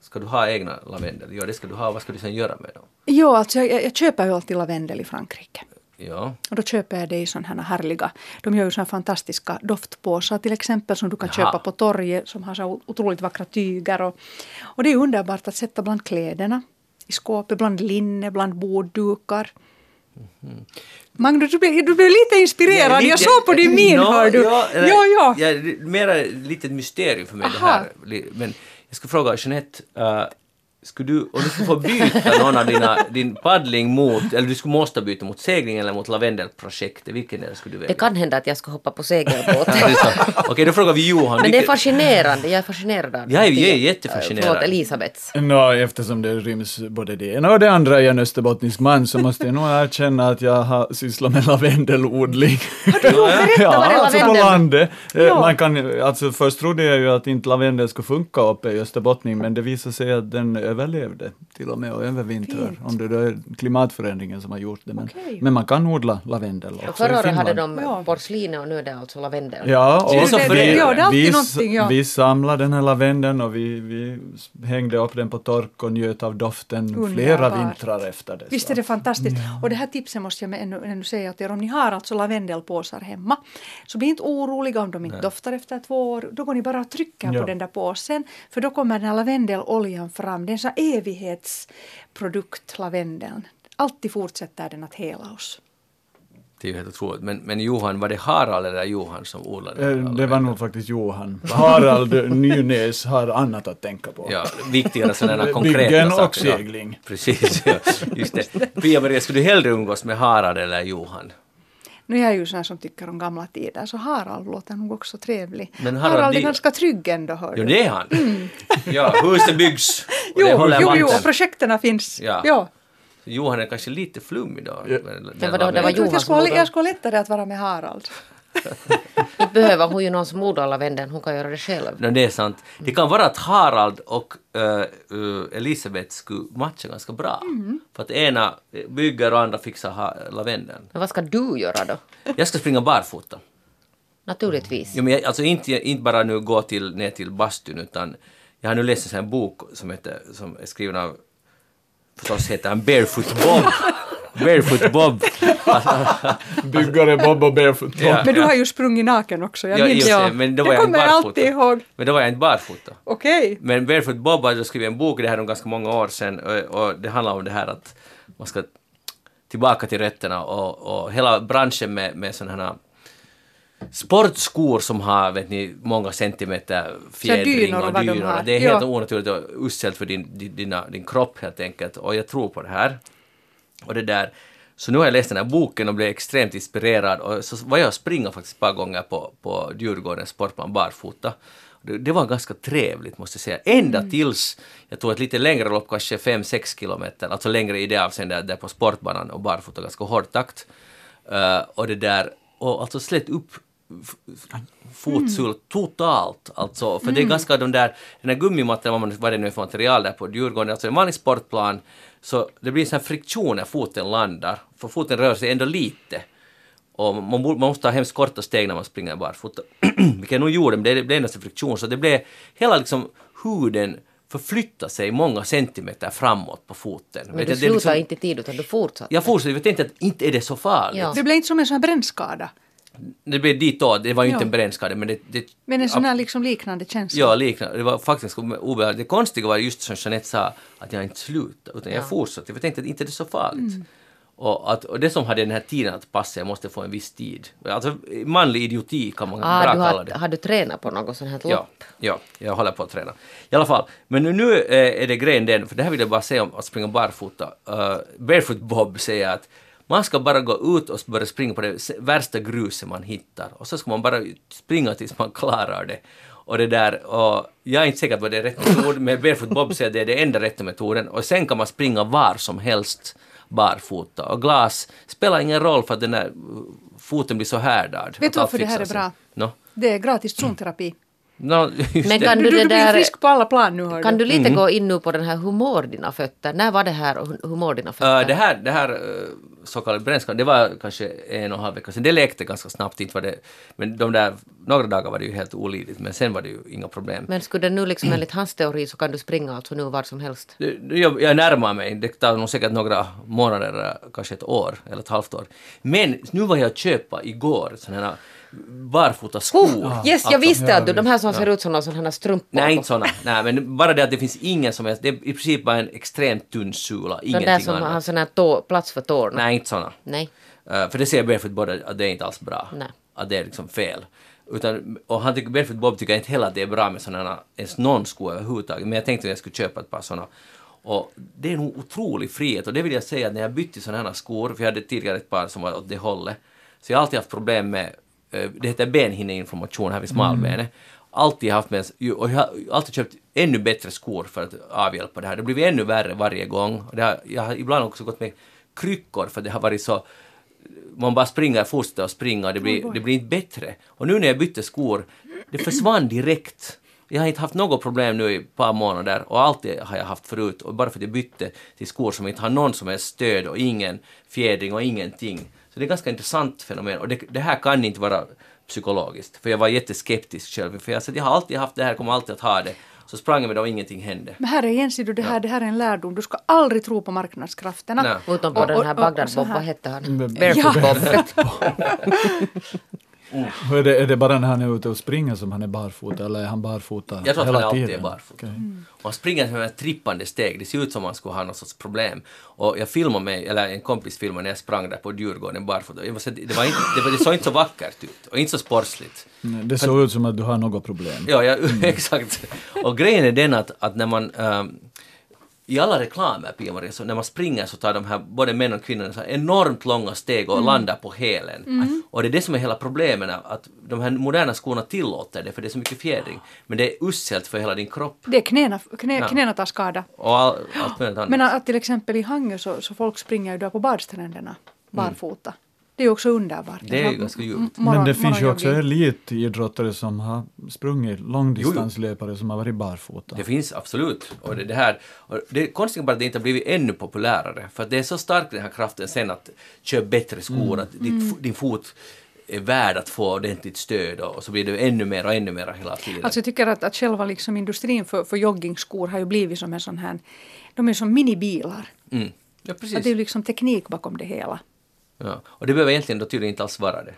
S1: ska du ha egna lavendel? Ja, det ska du ha. Vad ska du sen göra med dem?
S4: Jo, alltså jag, jag, jag köper ju alltid lavendel i Frankrike.
S1: Ja.
S4: Och då köper jag det i sådana här härliga, de gör ju sådana fantastiska doftpåsar till exempel som du kan
S1: Jaha.
S4: köpa på torget som har så otroligt vackra tyger. Och, och det är ju underbart att sätta bland kläderna i skåpet, bland linne, bland borddukar.
S1: Mhm.
S4: Magnus, du blev, du blev lite inspirerad. jag såg på din
S1: [laughs]
S4: min,
S1: Nå,
S4: hör du.
S1: Ja, eh, eller-
S4: ja, ja.
S1: ja, det är mera ett litet mysterium för mig det
S4: Aha.
S1: här. Li- Men jag ska fråga Jeanette, äh, skulle du, om du skulle få byta någon av
S4: [laughs]
S1: dina, din paddling mot, eller du skulle måste byta mot segling eller mot lavendelprojektet, vilken är det skulle du välja?
S2: Det kan hända att jag ska hoppa
S1: [laughs]
S2: på segelbåten.
S1: Ja, det är sant. Okej, då frågar vi Johan.
S2: Men det är
S1: vilken-
S2: fascinerande, jag är fascinerad av det.
S1: Jag är ju- jag är jättefascinerad.
S2: Förlåt, Elisabeths.
S3: Nå, eftersom det ryms både det ena och det andra i en österbottnisk man så måste jag nog [laughs] erkänna att jag har sysslat med lavendelodling.
S2: vad det
S3: [laughs] ja,
S2: är
S3: alltså på
S2: lavendel?
S3: landet. Eh, Man kan, alltså först trodde jag ju att inte lavendel skulle funka uppe i Österbotten men det visade sig att den överlevde till och med och övervintrar.
S4: Fint.
S3: Om det då är klimatförändringen som har gjort det. Men,
S4: Okej.
S3: men man kan odla lavendel också
S2: Och förra
S3: i
S2: året hade
S3: Finland.
S2: de
S4: Ja.
S2: porslin och nu är det alltså lavendel.
S3: Ja,
S1: Det är
S3: och
S1: så
S3: vi,
S1: förenar. Ja,
S4: det är alltid
S3: vi,
S4: någonting, ja.
S3: vi samlade den här lavendeln och vi, vi hängde upp den på tork och njöt av doften flera
S4: Underbart.
S3: vintrar efter det.
S4: Visst är det fantastiskt. Och det här tipset måste jag med ännu, ännu säga till er. Om ni har alltså lavendelpåsar hemma så bli inte oroliga om de inte doftar efter två år. Då går ni bara och trycker
S3: Ja.
S4: på den där påsen för då kommer den här lavendeloljan fram. Det är en sån här evighetsprodukt, lavendeln. Alltid fortsätter den att hela oss.
S1: Det är ju helt otroligt. Men, men Johan, var det Harald eller Johan som odlade? den här
S3: Eh, Det
S1: lavendel?
S3: var nog faktiskt Johan. Harald Nynäs har annat att tänka på.
S1: Ja, viktigare
S3: [laughs]
S1: sådana här konkreta
S3: Byggen och
S1: saker. ja.
S3: segling.
S1: Precis, ja. just det. Pia-Maria, skulle du hellre umgås med Harald eller Johan?
S4: Nu är jag ju sån här som tycker om gamla tider så Harald låter nog också trevlig.
S1: Men Harald
S4: Harald är
S1: är-
S4: ganska trygg ändå hör
S1: Jo,
S4: du.
S1: det är han. Mm. Ja, huset byggs. och
S4: Jo,
S1: det håller
S4: jo, jo,
S1: vatten.
S4: och projekterna finns.
S1: Ja.
S4: Ja.
S1: Johan är kanske lite flummig då.
S3: Ja.
S2: Det var då- det var
S4: Jag tror
S2: Johan
S4: att jag
S2: som
S4: skulle, ha-
S2: odlade.
S4: jag skulle ha lättare att vara med Harald.
S2: Inte behöver hon ju någon som odlar lavendeln, hon kan göra det själv.
S1: No, det är sant. Det kan vara att Harald och eh, eh, Elisabeth skulle matcha ganska bra.
S4: Mm.
S1: För att ena bygger och andra fixar ha- lavendeln.
S2: Men vad ska du göra då?
S1: Jag ska springa barfota.
S2: Naturligtvis.
S1: Jo, men jag, alltså inte, inte bara nu gå till, ner till bastun utan jag har nu läst en sån här bok som, heter, som är skriven av förstås heter han Barefoot
S4: [laughs]
S1: Bob. Barefoot Bob.
S3: Byggare Bob och Barefoot Bob.
S1: Ja.
S4: Men du har ju sprungit naken också, jag
S1: Ja,
S4: minns
S1: just det, men då var
S4: det
S1: jag
S4: kommer jag
S1: inte
S4: alltid
S1: barfota.
S4: ihåg.
S1: Men då var jag inte barfota.
S4: Okej.
S1: Men Barefoot Bob hade skrivit en bok, det här är om ganska många år sedan, och, och det handlar om det här att man ska tillbaka till rötterna och, och hela branschen med, med sådana här sportskor som har vet ni, många centimeter fjädring
S4: dynor och
S1: och
S4: vad de
S1: dynor.
S4: har.
S1: Det är helt
S4: Ja.
S1: onaturligt och uselt för din, din, dina, din kropp helt enkelt. Och jag tror på det här. Och det där. Så nu har jag läst den här boken och blev extremt inspirerad och så var jag och springa faktiskt ett par gånger på, på Djurgårdens sportplan barfota. Det, det var ganska trevligt måste jag säga. Ända
S4: Mm.
S1: tills jag tog ett lite längre lopp, kanske 5-6 kilometer, alltså längre i det avseendet där på sportbanan och barfota ganska hård takt. Eh, och det där, och alltså slätt upp f- f- fotsul
S2: Mm.
S1: totalt. Alltså, för det är ganska de där, den där gummimattan, vad, man, vad det nu är för material där på Djurgården, alltså en vanlig sportplan, så det blir en sån här friktion när foten landar, för foten rör sig ändå lite. Och man, borde, man måste ta hemskt korta steg när man springer barfota, [clears throat] vilket jag nog gjorde, men det blev endast en friktion, så det blev hela liksom huden förflytta sig många centimeter framåt på foten.
S2: Men
S1: Vet
S2: du
S1: jag, det är liksom-
S2: slutade inte i tid utan du fortsatte.
S1: Jag fortsatte, jag tänkte att inte är det så farligt.
S2: Ja.
S4: Det blev inte som en sån här brännskada,
S1: Det blev dit då, det var ju inte
S4: Ja.
S1: en brännskada men det... det
S4: men en sån här liksom liknande känsla.
S1: Ja, liknande. Det var faktiskt obehagligt. Det konstiga var just som Jeanette sa, att jag inte slutade, utan jag fortsatte. Jag tänkte att inte det är så farligt.
S4: Mm.
S1: Och, att, och det som hade den här tiden att passa, jag måste få en viss tid. Alltså manlig idioti kan man bra
S2: Ah, du
S1: kalla
S2: har,
S1: det.
S2: har du tränat på något sånt här lopp?
S1: Ja, ja, jag håller på att träna. I alla fall, men nu, nu eh, är det grejen den, för det här vill jag bara säga om att springa barfota. Eh, Barefoot Bob säger att man ska bara gå ut och börja springa på det s- värsta gruset man hittar och så ska man bara springa tills man klarar det. Och det där, och jag är inte säker på att det är rätt metod, men Barefoot Bob säger att det är den enda rätta metoden och sen kan man springa var som helst barfota och glas spelar ingen roll för att den där eh, foten blir så härdad.
S4: du
S1: att allt
S4: varför det här
S1: fixar
S4: är
S1: sig.
S4: bra?
S1: Nå?
S4: Det är gratis zonterapi.
S1: No, [laughs] just
S2: Men
S1: det.
S2: kan
S4: Du,
S2: du,
S4: du,
S2: det
S4: blir
S2: där,
S4: frisk på alla plan nu hör
S2: kan du lite
S1: Mm.
S2: gå in nu på den här Hur mår dina fötter? När var det här och Hur mår dina fötter?
S1: Äh, det här, det här äh, så kallade bränskan, det var kanske en och en halv vecka sedan. Det läkte ganska snabbt, inte var det, men de där, några dagar var det ju helt olidligt, men sen var det ju inga problem.
S2: Men skulle det nu liksom enligt hans teori så kan du springa alltså nu var som helst?
S1: Det- det- Jag, jag närmar mig, det tar nog säkert några månader, eller kanske ett år eller ett halvt år. Men nu var jag att köpa igår sådana här barfotaskor.
S2: Ah, Yes, jag
S1: Alltså-
S2: visste att du, de här som ser ut som någon sån här strumpor.
S1: Nej, inte såna. Nej, men bara det att det finns ingen som helst. Det är i princip bara en extremt tunn sula.
S2: De
S1: Ingenting
S2: där som
S1: annat.
S2: har sån här tå, plats för tårna.
S1: Nej, inte såna.
S2: Nej.
S1: Eh, för det ser Barefoot Bob att det är inte alls bra.
S2: Nej.
S1: Att det är liksom fel. Utan, och han tycker, Barefoot Bob tycker inte heller att det är bra med sådana, ens någon sko överhuvudtaget. Men jag tänkte att jag skulle köpa ett par sådana. Och det är nog otrolig frihet. Och det vill jag säga att när jag bytte sådana här skor, för jag hade tidigare ett par som var åt det hållet. Så jag har alltid haft problem med, eh, det heter benhinneinflammation här vid smalbenet. Alltid haft med, och jag har alltid köpt ännu bättre skor för att avhjälpa det här. Det har blivit ännu värre varje gång. Och det har, jag har ibland också gått med kryckor för det har varit så man bara springer, fortsätter att springa, det blir, det blir inte bättre. Och nu när jag bytte skor, det försvann direkt. Jag har inte haft något problem nu i ett par månader och allt det har jag haft förut. Och bara för att jag bytte till skor som inte har någon som helst stöd och ingen fjädring och ingenting. Så det är ett ganska intressant fenomen och det, det här kan inte vara psykologiskt. För jag var jätteskeptisk själv, för jag sa att jag har alltid haft det här, kommer alltid att ha det. Så sprang jag med det och ingenting hände.
S4: Men här är igen, ser du, det här, det här är en lärdom. Du ska aldrig tro på marknadskrafterna.
S1: Nej.
S2: Utom på
S4: Och-
S2: den här
S4: och- och- och
S2: Bagdad
S4: så
S2: Bob,
S4: här.
S2: vad hette han?
S3: Mm.
S2: Barefoot
S4: Ja.
S2: Bob.
S3: Och Är det, är det bara när han är ute och springer som han är barfota eller är han barfota
S1: Jag tror att
S3: hela
S1: han alltid
S3: tiden?
S1: är barfota.
S3: Okej.
S1: Och han springer med ett trippande steg, det ser ut som han skulle ha någon sorts problem. Och jag filmade mig, eller en kompis filmade när jag sprang där på Djurgården barfota. Jag måste säga, Det, var inte, det, var, det såg inte så vackert ut och inte så sportsligt.
S3: Nej, Mm, Det såg ut som att du har något problem.
S1: Ja, [laughs] ja exakt. Och grejen är den att, att när man ehm, i alla reklamer, Pia-Maria, så när man springer så tar de här, både män och kvinnor, så här enormt långa steg och landar på hälen. Och det är det som är hela problemet, att de här moderna skorna tillåter det, för det är så mycket fjädring. Men det är usselt för hela din kropp.
S4: Det är knäna, knä,
S1: Ja.
S4: knäna tar skada.
S1: Och all, allt möjligt annat.
S4: Men att till exempel i Hangö så, så folk springer ju där på badstränderna barfota. Det är ju också mm. underbart.
S1: Mm. Det är ju ganska djupt.
S3: Men det finns ju också elitidrottare som har sprungit långdistanslöpare som har varit barfota.
S1: Det finns absolut. Och det, det, här, och det är konstigt bara att det inte har blivit ännu populärare. För att det är så stark den här kraften sen att köpa bättre skor, att ditt, fo- din fot är värd att få ordentligt stöd och, och så blir det ännu mer och ännu mer hela tiden.
S4: Alltså jag tycker att, att själva liksom industrin för, för joggingskor har ju blivit som en sån här, de är som minibilar.
S1: mm. Ja,
S4: Att det är
S1: precis.
S4: ju liksom teknik bakom det hela.
S1: Ja. Och det behöver egentligen då tydligen inte alls vara det.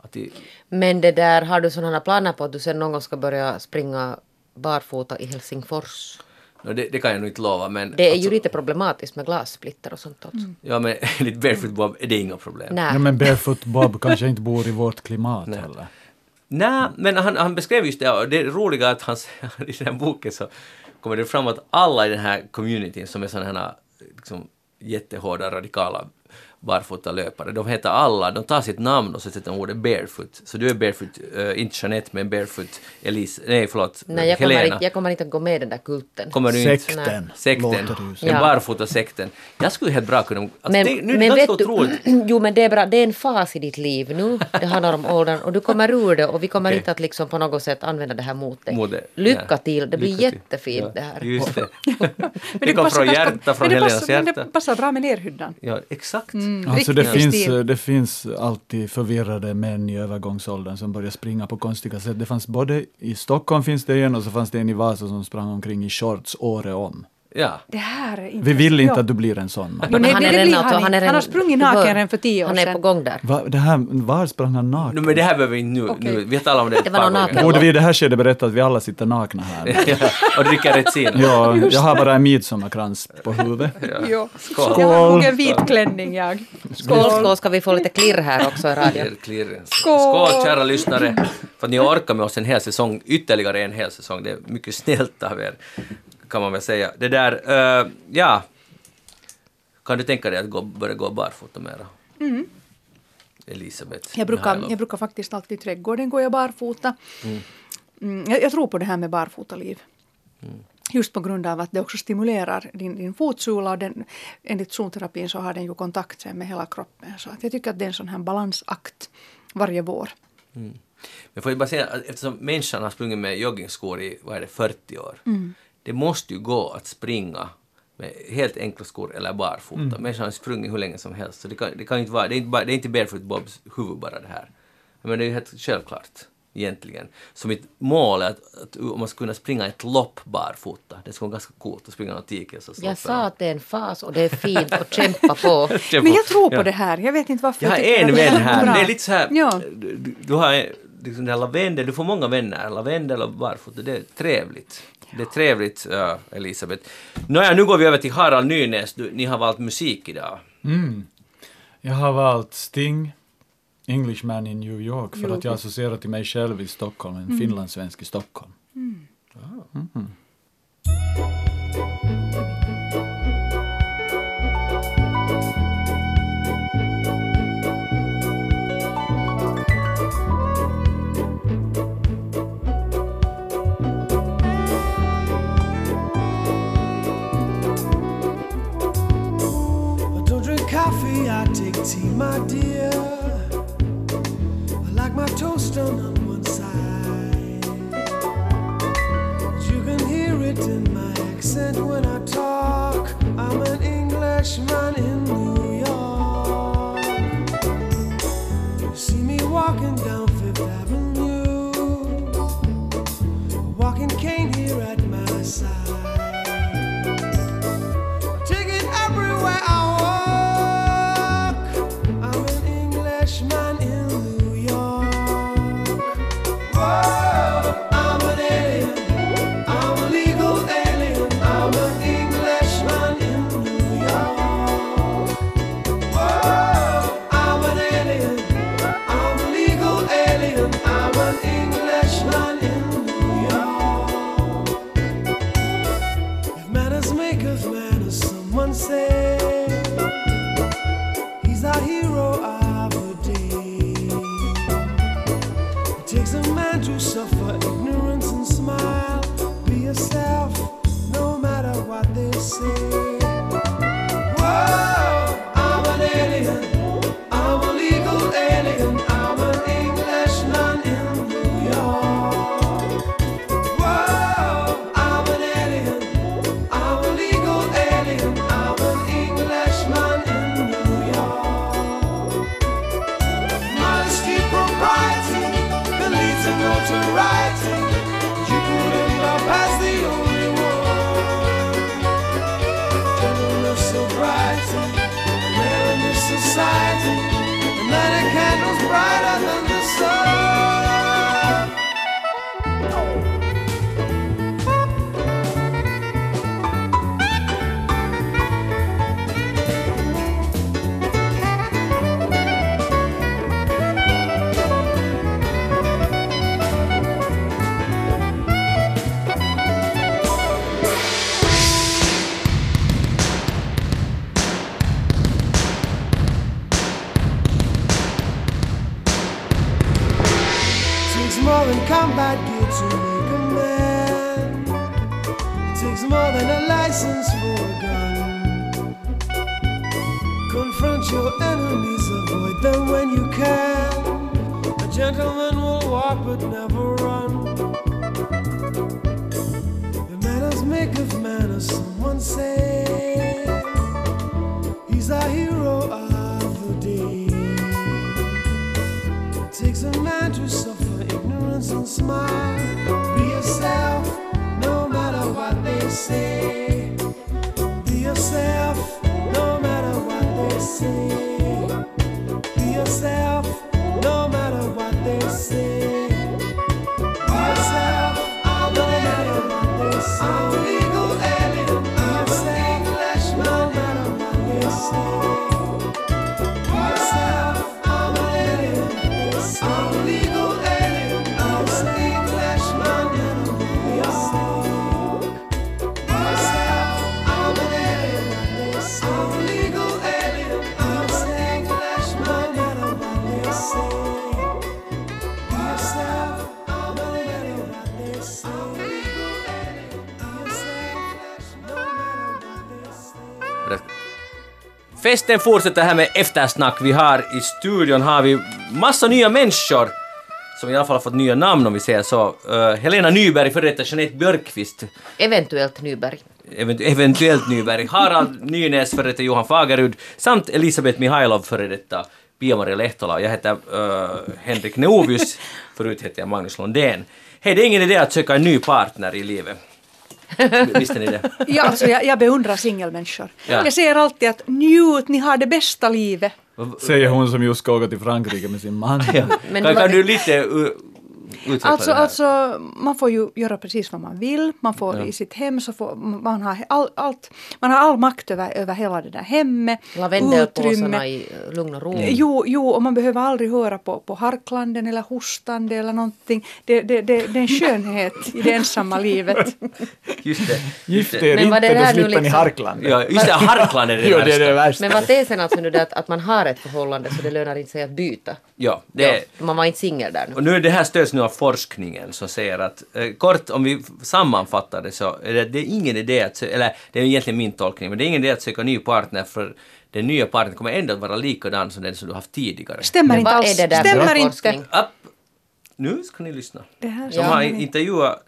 S1: Att det
S2: Men det där, har du sådana planer på att du sen någon gång ska börja springa barfota i Helsingfors?
S1: no, det, det kan jag nog inte lova men...
S2: Det är
S1: alltså, Mm.
S2: ju lite problematiskt med glassplitter och sånt också.
S1: Ja men [laughs] enligt Barefoot Bob är det inga problem.
S2: Nej.
S3: Ja, men barefoot Bob kanske inte bor i vårt klimat heller.
S1: Nej, men han, han beskrev just det och det roliga är att han, [laughs] i den här boken så kommer det fram att alla i den här communityn som är sådana här liksom, jättehårda, radikala barfotalöpare, de heter alla, de tar sitt namn och så sätter de ordet barefoot. Så du är barefoot, eh, inte Jeanette men barefoot Elise, nej förlåt,
S2: Nej, jag kommer,
S1: Helena.
S2: inte, jag kommer inte att gå med i den där kulten.
S1: Kommer du inte?
S3: Sekten,
S1: Sekten.
S3: låter det ju som.
S1: Den
S2: Ja.
S1: barfota sekten. Jag skulle helt bra kunna... Alltså,
S2: men,
S1: det, nu är det
S2: men
S1: ganska
S2: vet
S1: otroligt.
S2: du, [clears throat] jo men det är bra, det är en fas i ditt liv nu, det handlar om åldern och du kommer ur det och vi kommer
S1: Okej.
S2: inte att liksom på något sätt använda det här mot dig.
S1: Mot det,
S2: Lycka
S1: nej.
S2: till, det blir
S1: Lycka till.
S2: jättefint
S1: Ja,
S2: det här.
S1: Just det.
S4: [laughs] Men
S1: [laughs] det kom
S4: passar
S1: från
S4: ganska-
S1: hjärta, från
S4: men det
S1: Helenas
S4: passar- men
S1: hjärta.
S4: Det passar Mm. bra med lerhyddan.
S1: Ja, exakt.
S3: Alltså
S4: Riktig
S3: det finns,
S4: stil.
S3: det finns alltid förvirrade män i övergångsåldern som börjar springa på konstiga sätt. Det fanns både i Stockholm finns det en och så fanns det en i Vasa som sprang omkring i shorts året om.
S1: Ja.
S4: Det här är
S3: Vi vill inte
S4: Ja.
S3: att du blir en sån man.
S4: No, nej, det- det blir han
S2: alltså,
S4: inte.
S2: redan-
S4: Han har sprungit
S2: du hör,
S4: naken redan för tio år
S2: Han är
S4: sedan.
S2: på gång där.
S3: Va, det här, var sprang han
S1: No,
S3: naken?
S1: men det här behöver vi inte nu.
S4: Okej.
S1: nu. Vi har talat om det ett
S2: Det var
S1: par
S2: någon
S1: gånger.
S2: naken.
S3: Borde vi i det här skedet berätta att vi alla sitter nakna här?
S1: [laughs] Ja, och dricka Retsina.
S3: Ja, jag har bara en midsommarkrans på huvudet.
S4: Jo.
S1: Skål.
S4: Jag har nog en
S3: Skål.
S4: vit klänning jag.
S2: Skål, skål, ska vi få lite klirr här också i radion.
S1: Klirr, klirr.
S4: Skål.
S1: Skål kära lyssnare för att ni har orkat med oss en hel säsong, ytterligare en hel säsong. Det är mycket snällt av er kan man väl säga. Det där, eh, ja. Kan du tänka dig att gå, börja gå barfota mera? Elisabeth
S4: Mm. Jag brukar,
S1: Mihailov.
S4: jag brukar faktiskt alltid i trädgården går jag barfota. Mm, jag, jag tror på det här med barfotaliv.
S1: Mm.
S4: Just på grund av att det också stimulerar din, din fotsula och den, enligt zonterapin så har den ju kontakt sen med hela kroppen. Så att jag tycker att det är en sån här balansakt varje vår.
S1: Mm. Men får jag bara säga att eftersom människan har sprungit med joggingskor i vad är det, 40 år.
S4: Mm.
S1: Det måste ju gå att springa med helt enkla skor eller barfota.
S4: Mm.
S1: Människan har sprungit hur länge som helst. Så det, kan, det, kan ju inte vara, det, är inte bara, det är inte Barefoot Bobs huvud bara det här. Men det är ju helt självklart egentligen. Så mitt mål är att, att om man skulle kunna springa ett lopp barfota. Det skulle vara ganska coolt att springa någon tikel.
S2: Jag
S1: [laughs]
S2: sa att det är en fas och det är fint att kämpa på.
S4: Men jag tror på det här. Jag vet inte varför.
S1: Jag har
S4: tycker
S1: en
S4: att det är
S1: vän
S4: bra.
S1: här. Det är lite så här,
S4: Ja.
S1: du, du- du har en- liksom den här lavendel, du får många vänner. Lavendel och barfota, det är trevligt. Det är trevligt, äh, Elisabeth. Nåja, nu går vi över till Harald Nynäs. Du, ni har valt musik idag.
S3: Mm. Jag har valt Sting, Englishman in New York, för
S4: Jo.
S3: att jag associerar till mig själv i Stockholm, en
S2: Mm.
S3: finlandssvensk i Stockholm.
S5: I don't drink coffee, I take tea, my dear. I like my toast done on one side. But you can hear it in my accent when I talk. I'm an Englishman in New York. You see me walking down Fifth Avenue, a walking cane here at my side. Take it everywhere I walk. I'm an Englishman in New York. Whoa, I'm an alien. I'm a legal alien. I'm an Englishman in New York. Whoa, I'm an alien. I'm a legal alien. I'm an Englishman in New York. If manners make of manners, someone said he's our hero of the day. It takes a man to suffer ignorance and smile. Be yourself, no matter what they say. Whoa, I'm an alien. I'm a legal alien. I'm an Englishman in New York. Whoa, I'm an alien. I'm a legal alien. I'm an Englishman in New York. Modesty, propriety, the leads and notoriety. You couldn't love as the only one. Gentleman of sobriety, a man in this society, a man of candles brighter than the sun. takes more than combat gear to make a man. It takes more than a license for a gun. Confront your enemies, avoid them when you can. A gentleman will walk but never run. The manners make of manners, someone say. He's our hero of the day takes a man to suffer ignorance and smile. Be yourself, no matter what they say. Be yourself, no matter what they say. Be yourself, no matter what they say. Be yourself, no matter what they say. I'm a legal alien. I'm an Englishman, no matter what they say.
S1: Festen fortsätter här med eftersnack. Vi har i studion har vi massa nya människor som i alla fall har fått nya namn om vi säger så. Eh, Helena Nyberg, före detta Jeanette Björkqvist,
S2: Eventuellt Nyberg.
S1: event- eventuellt Nyberg, Harald Nynäs, före detta Johan Fagerud, samt Elisabeth Mihailov, före detta Pia-Maria Lehtola. Jag heter eh, Henrik Neovius, förut hette jag Magnus Lundén. Hej, det är ingen idé att söka en ny partner i livet. Visste ni det?
S4: Ja, alltså, jag, jag beundrar singelmänniskor.
S1: Ja.
S4: Jag säger alltid att njut, ni har det bästa livet.
S3: Säger hon som just ska åka till Frankrike med sin man.
S1: kan,
S2: Men det var-
S1: kan du lite uh, utveckla
S4: Alltså,
S1: det här?
S4: alltså, man får ju göra precis vad man vill. Man får i sitt hem så får man har all, allt, man har all makt över, över hela det där hemmet. Mm.
S2: Lavendelpåsarna i eh, lugn och ro.
S1: Mm.
S4: Jo, jo, och man behöver aldrig höra på, på harklanden eller hostande eller någonting. Det, det, det, det är en skönhet i det
S2: [laughs]
S4: ensamma livet.
S1: Just det. just
S3: Gift
S1: det.
S3: er
S2: Men vad
S3: inte,
S2: det
S3: då
S2: här nu
S3: slipper ni
S2: liksom-
S3: Harkland.
S1: Ja, just det, harklan är det
S3: [laughs] Jo, det är det
S1: värsta.
S3: värsta.
S2: Men var tesen alltså nu det att, att man har ett förhållande så det lönar inte sig att byta?
S1: Ja, det är,
S2: Man var inte singel där nu.
S1: och nu är det här stöds nu av forskningen som säger att eh, kort om vi sammanfattar det så är det, det är ingen idé att sö- eller det är egentligen min tolkning, men det är ingen idé att söka ny partner för den nya partnern kommer ändå att vara likadan som den som du haft tidigare.
S4: Stämmer inte
S2: Vad
S4: alls.
S2: är det där för
S4: Stämmer
S2: forskning?
S4: inte.
S1: Upp. Nu ska ni lyssna.
S4: Det här
S1: som
S2: Ja.
S1: har intervjuat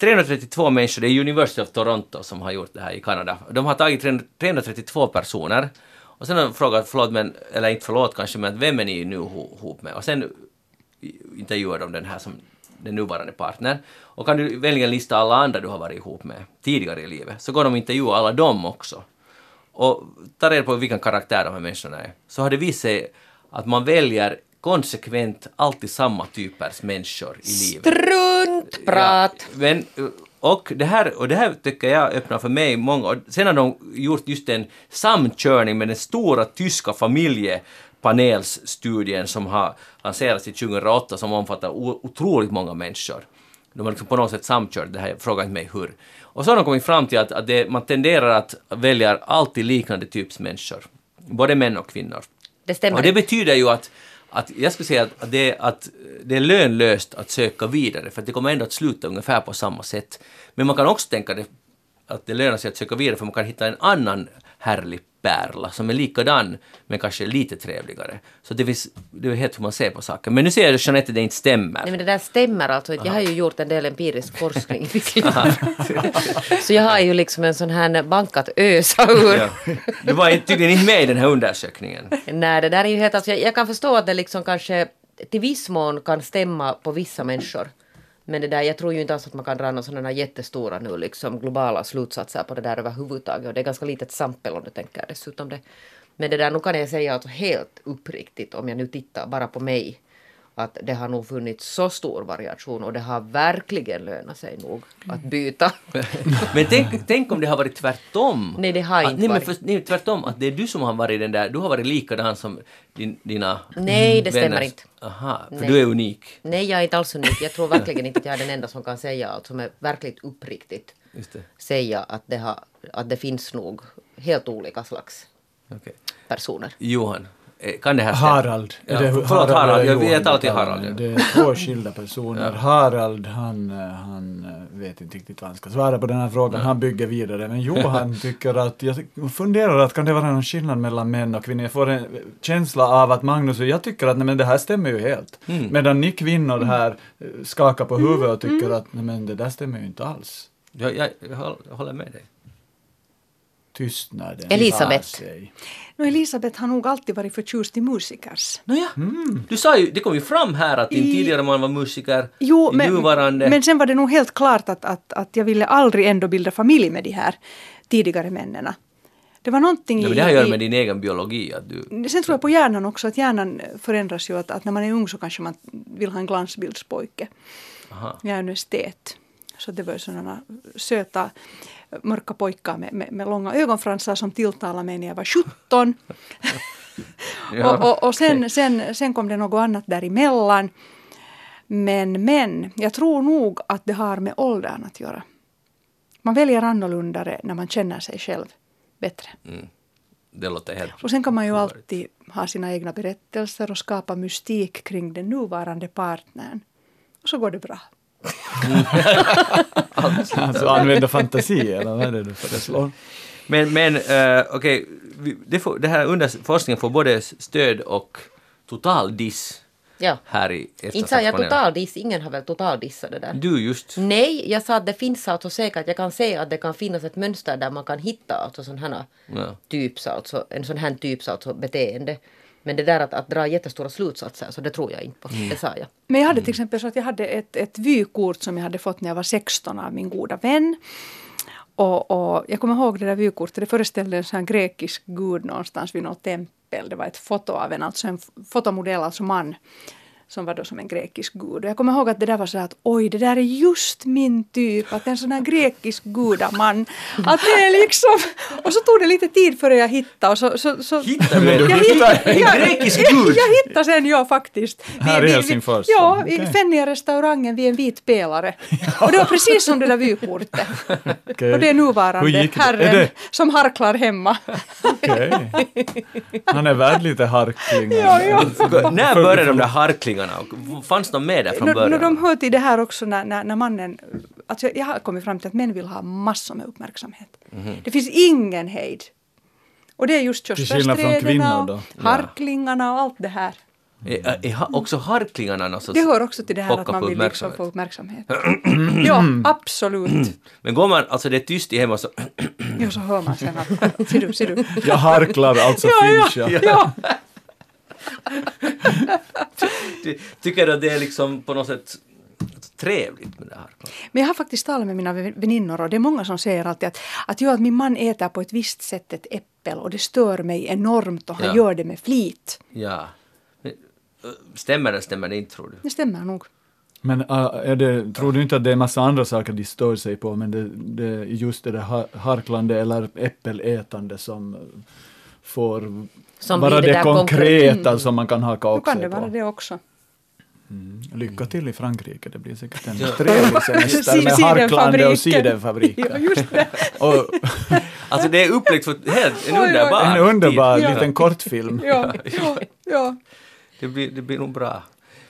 S1: 332 människor, det är University of Toronto som har gjort det här i Kanada. De har tagit 332 personer och sen har de frågat, förlåt men, eller inte förlåt kanske, men vem är ni nu ho- ihop med? Och sen intervjuar de den här som den nuvarande partnern. Och kan du välja en lista alla andra du har varit ihop med tidigare i livet, så går de och intervjuar alla dem också. Och tar reda på vilken karaktär de här människorna är. Så har det visat sig att man väljer konsekvent alltid samma typers människor i livet.
S2: Runtprat!
S1: Ja, men, och, det här, och det här tycker jag öppnar för mig många... och Sen har de gjort just en samkörning med den stora tyska familjepanelsstudien som har lanserats i 2008 som omfattar o- otroligt många människor. De har liksom på något sätt samkört det här, fråga inte mig hur. Och så har de kommit fram till att, att det, man tenderar att välja alltid liknande typs människor. Både män och kvinnor.
S2: Det stämmer
S1: Och det
S2: inte.
S1: betyder ju att, att jag skulle säga att det, är- att det är lönlöst att söka vidare för att det kommer ändå att sluta ungefär på samma sätt. Men man kan också tänka det, att det lönar sig att söka vidare för man kan hitta en annan härlig pärla som är likadan men kanske lite trevligare. Så det, finns, det är helt hur man ser på saken. Men nu ser jag Jeanette att det inte stämmer.
S2: Nej men det där stämmer alltså inte. Jag har ju gjort en del empirisk
S1: [laughs]
S2: forskning i mitt liv. Så jag har ju liksom en sån här bank att ösa ur.
S1: Ja. Du var inte- tydligen inte med i den här undersökningen.
S2: Nej, det där är ju helt... Alltså, jag, jag kan förstå att det liksom kanske till viss mån kan stämma på vissa människor. Men det där, jag tror ju inte alls att man kan dra några sådana jättestora nu liksom globala slutsatser på det där överhuvudtaget. Och det är ganska litet sampel om du tänker dessutom det. Men det där, nu kan jag säga alltså helt uppriktigt om jag nu tittar bara på mig. Att det har nog funnits så stor variation och det har verkligen lönat sig nog att byta.
S1: Men tänk, tänk om det har varit tvärtom.
S2: Nej, det har
S1: att,
S2: inte
S1: nej, men
S2: varit.
S1: För, nej, tvärtom, att det är du som har varit den där, du har varit likadan som din, dina
S2: Nej, det stämmer
S1: vänners-
S2: inte.
S1: Aha, för
S2: Nej.
S1: du är unik.
S2: Nej, jag är inte alls unik. Jag tror verkligen inte att jag är den enda som kan säga allt som är verkligt uppriktigt.
S1: Just det.
S2: säga att det, har, att det finns nog helt olika slags
S1: Okej.
S2: personer.
S1: Johan, eh, kan det här stämma?
S3: Harald.
S1: Ja,
S3: Är det
S1: förlåt Harald,
S3: eller
S1: jag
S3: Johan
S1: vet alltid
S3: kallar
S1: Harald,
S3: honom?
S1: ja.
S3: Det är två skilda personer. Harald, han, eh, han eh, vet inte riktigt vad han ska svara på den här frågan. Han bygger vidare.
S1: [laughs]
S3: Men Johan tycker att, jag funderar att kan det vara någon skillnad mellan män och kvinnor? Jag får en känsla av att Magnus och jag tycker att nej, men det här stämmer ju helt.
S1: Mm.
S3: Medan ni kvinnor här eh, skakar på huvudet och
S4: Mm.
S3: tycker att nej, men det där stämmer ju inte alls.
S1: Jag, jag, jag håll- jag håller med dig.
S3: Tystnaden
S2: Elisabeth.
S3: tar sig.
S4: No, Elisabeth har nog alltid varit förtjust i musikers.
S1: Nåja,
S3: Mm.
S1: du sa ju, det kom ju fram här att din
S4: I-
S1: tidigare man var musiker,
S4: Jo,
S1: din
S4: men,
S1: nuvarande...
S4: men sen var det nog helt klart att, att, att jag ville aldrig ändå bilda familj med de här tidigare männen. Det var någonting
S1: Nej, men
S4: i-
S1: det här gör
S4: i-
S1: med din egen biologi att du...
S4: Sen tror jag på hjärnan också, att hjärnan förändras ju. Att, att när man är ung så kanske man vill ha en glansbildspojke.
S1: Aha.
S4: Jag är en estet. Så det var ju sådana söta mörka pojkar med, med, med långa ögonfransar som tilltalade mig när jag var 17.
S1: [laughs] Ja.
S4: och och, och sen, sen, sen kom det något annat däremellan. Men, men, jag tror nog att det har med åldern att göra. Man väljer annorlunda när man känner sig själv bättre.
S1: Det låter helt...
S4: Och sen kan man ju
S1: trovärdigt.
S4: alltid ha sina egna berättelser och skapa mystik kring den nuvarande partnern. Och så går det bra.
S3: Alltså använda fantasi eller vad är det du föreslår?
S1: Men, men eh, okej, vi- det, får- det här under forskningen får både stöd och total diss.
S2: Ja.
S1: här i
S2: Inte Mm. sa jag
S1: eftersatspanelen.
S2: totaldiss, ingen har väl totaldissat det där.
S1: Du just.
S2: Nej, jag sa att det finns alltså säkert, jag kan säga att det kan finnas ett mönster där man kan hitta alltså sån här
S1: Ja.
S2: typs, alltså, en sån här typs alltså beteende. Men det där att, att dra jättestora slutsatser, så det tror jag inte på.
S1: Mm.
S2: Det sa jag.
S4: Men jag hade till exempel så att jag hade ett, ett vykort som jag hade fått när jag var 16 av min goda vän. Och, och jag kommer ihåg det där vykortet, det föreställde en sån här grekisk gud någonstans vid något tempel. Det var ett foto av en, alltså en f- fotomodell, alltså man, som var då som en grekisk gud. Och jag kommer ihåg att det där var så här att oj, det där är just min typ, att en sån här grekisk gudaman. Att det är liksom... Och så tog det lite tid före jag hittade och så... så, så
S1: Hittar du en,
S4: jag
S1: en
S4: jag-
S1: grekisk
S4: jag,
S1: gud?
S4: jag hittade sen, ja faktiskt.
S3: Här i Helsingfors?
S4: Ja, i
S3: Okej.
S4: Fennia-restaurangen vid en
S3: [laughs]
S4: vit pelare. Och det var precis som det där vykortet.
S3: Okej.
S4: [laughs] Och det är
S3: Hur
S4: nuvarande
S3: gick det?
S4: herren
S3: Är det-
S4: som
S3: [laughs]
S4: harklar hemma.
S3: Okej. Han är värd lite harklingar.
S4: Ja, ja.
S1: När började de där harklingarna? Och Fanns de med där från
S4: No, no,
S1: början?
S4: de hör till det här också när, när, när mannen... Alltså jag har kommit fram till att män vill ha massor med uppmärksamhet.
S3: Mhm.
S4: Det finns ingen hejd. Och det är just
S3: skillnad från
S4: körsbärssträderna
S3: kvinnor
S4: och
S3: då?
S4: harklingarna och allt det här.
S1: Är, är ha- också harklingarna någon sorts
S4: Det hör också till det här
S1: pocka
S4: att man
S1: på
S4: vill liksom
S1: uppmärksamhet?
S3: [clears throat]
S4: få uppmärksamhet. ja, absolut.
S1: Men går man, alltså det är tyst i hemma så
S4: Jo, så hör man sen att... [laughs] Ser du, ser du.
S3: Jag harklar, alltså
S4: Ja,
S3: finns
S4: ja,
S3: jag.
S4: ja.
S1: ty, tycker du att det är liksom på något sätt trevligt med det här?
S4: Men jag har faktiskt talat med mina väninnor och det är många som säger alltid att, att, jo, att min man äter på ett visst sätt ett äppel och det stör mig enormt och han
S1: Ja.
S4: gör det med flit.
S1: Ja. Men, äh, Stämmer det, stämmer det inte tror du?
S4: Det stämmer nog.
S3: Men äh, är det, tror du inte att det är massa andra saker de stör sig på, men det, det är just det där har- harklande eller äppelätande som äh, får
S2: Som
S3: vara
S2: blir det
S3: det,
S2: där
S3: konkreta som man kan haka
S4: Då
S3: upp
S4: Mm. kan det
S3: sig
S4: vara
S3: på.
S4: det också.
S3: Lycka till i Frankrike, det blir säkert en
S1: Ja.
S4: [laughs]
S3: trevlig semester med
S4: Sidenfabriken.
S3: harklande och
S4: Ja,
S3: sidenfabriker.
S4: just det.
S3: Och
S1: Alltså det är uppläggt för helt, en
S4: Oj, oj, oj.
S1: underbar typ.
S3: en underbar
S1: tid.
S3: liten kortfilm.
S4: Ja,
S1: [laughs]
S4: ja, ja.
S1: Det blir, det blir nog bra.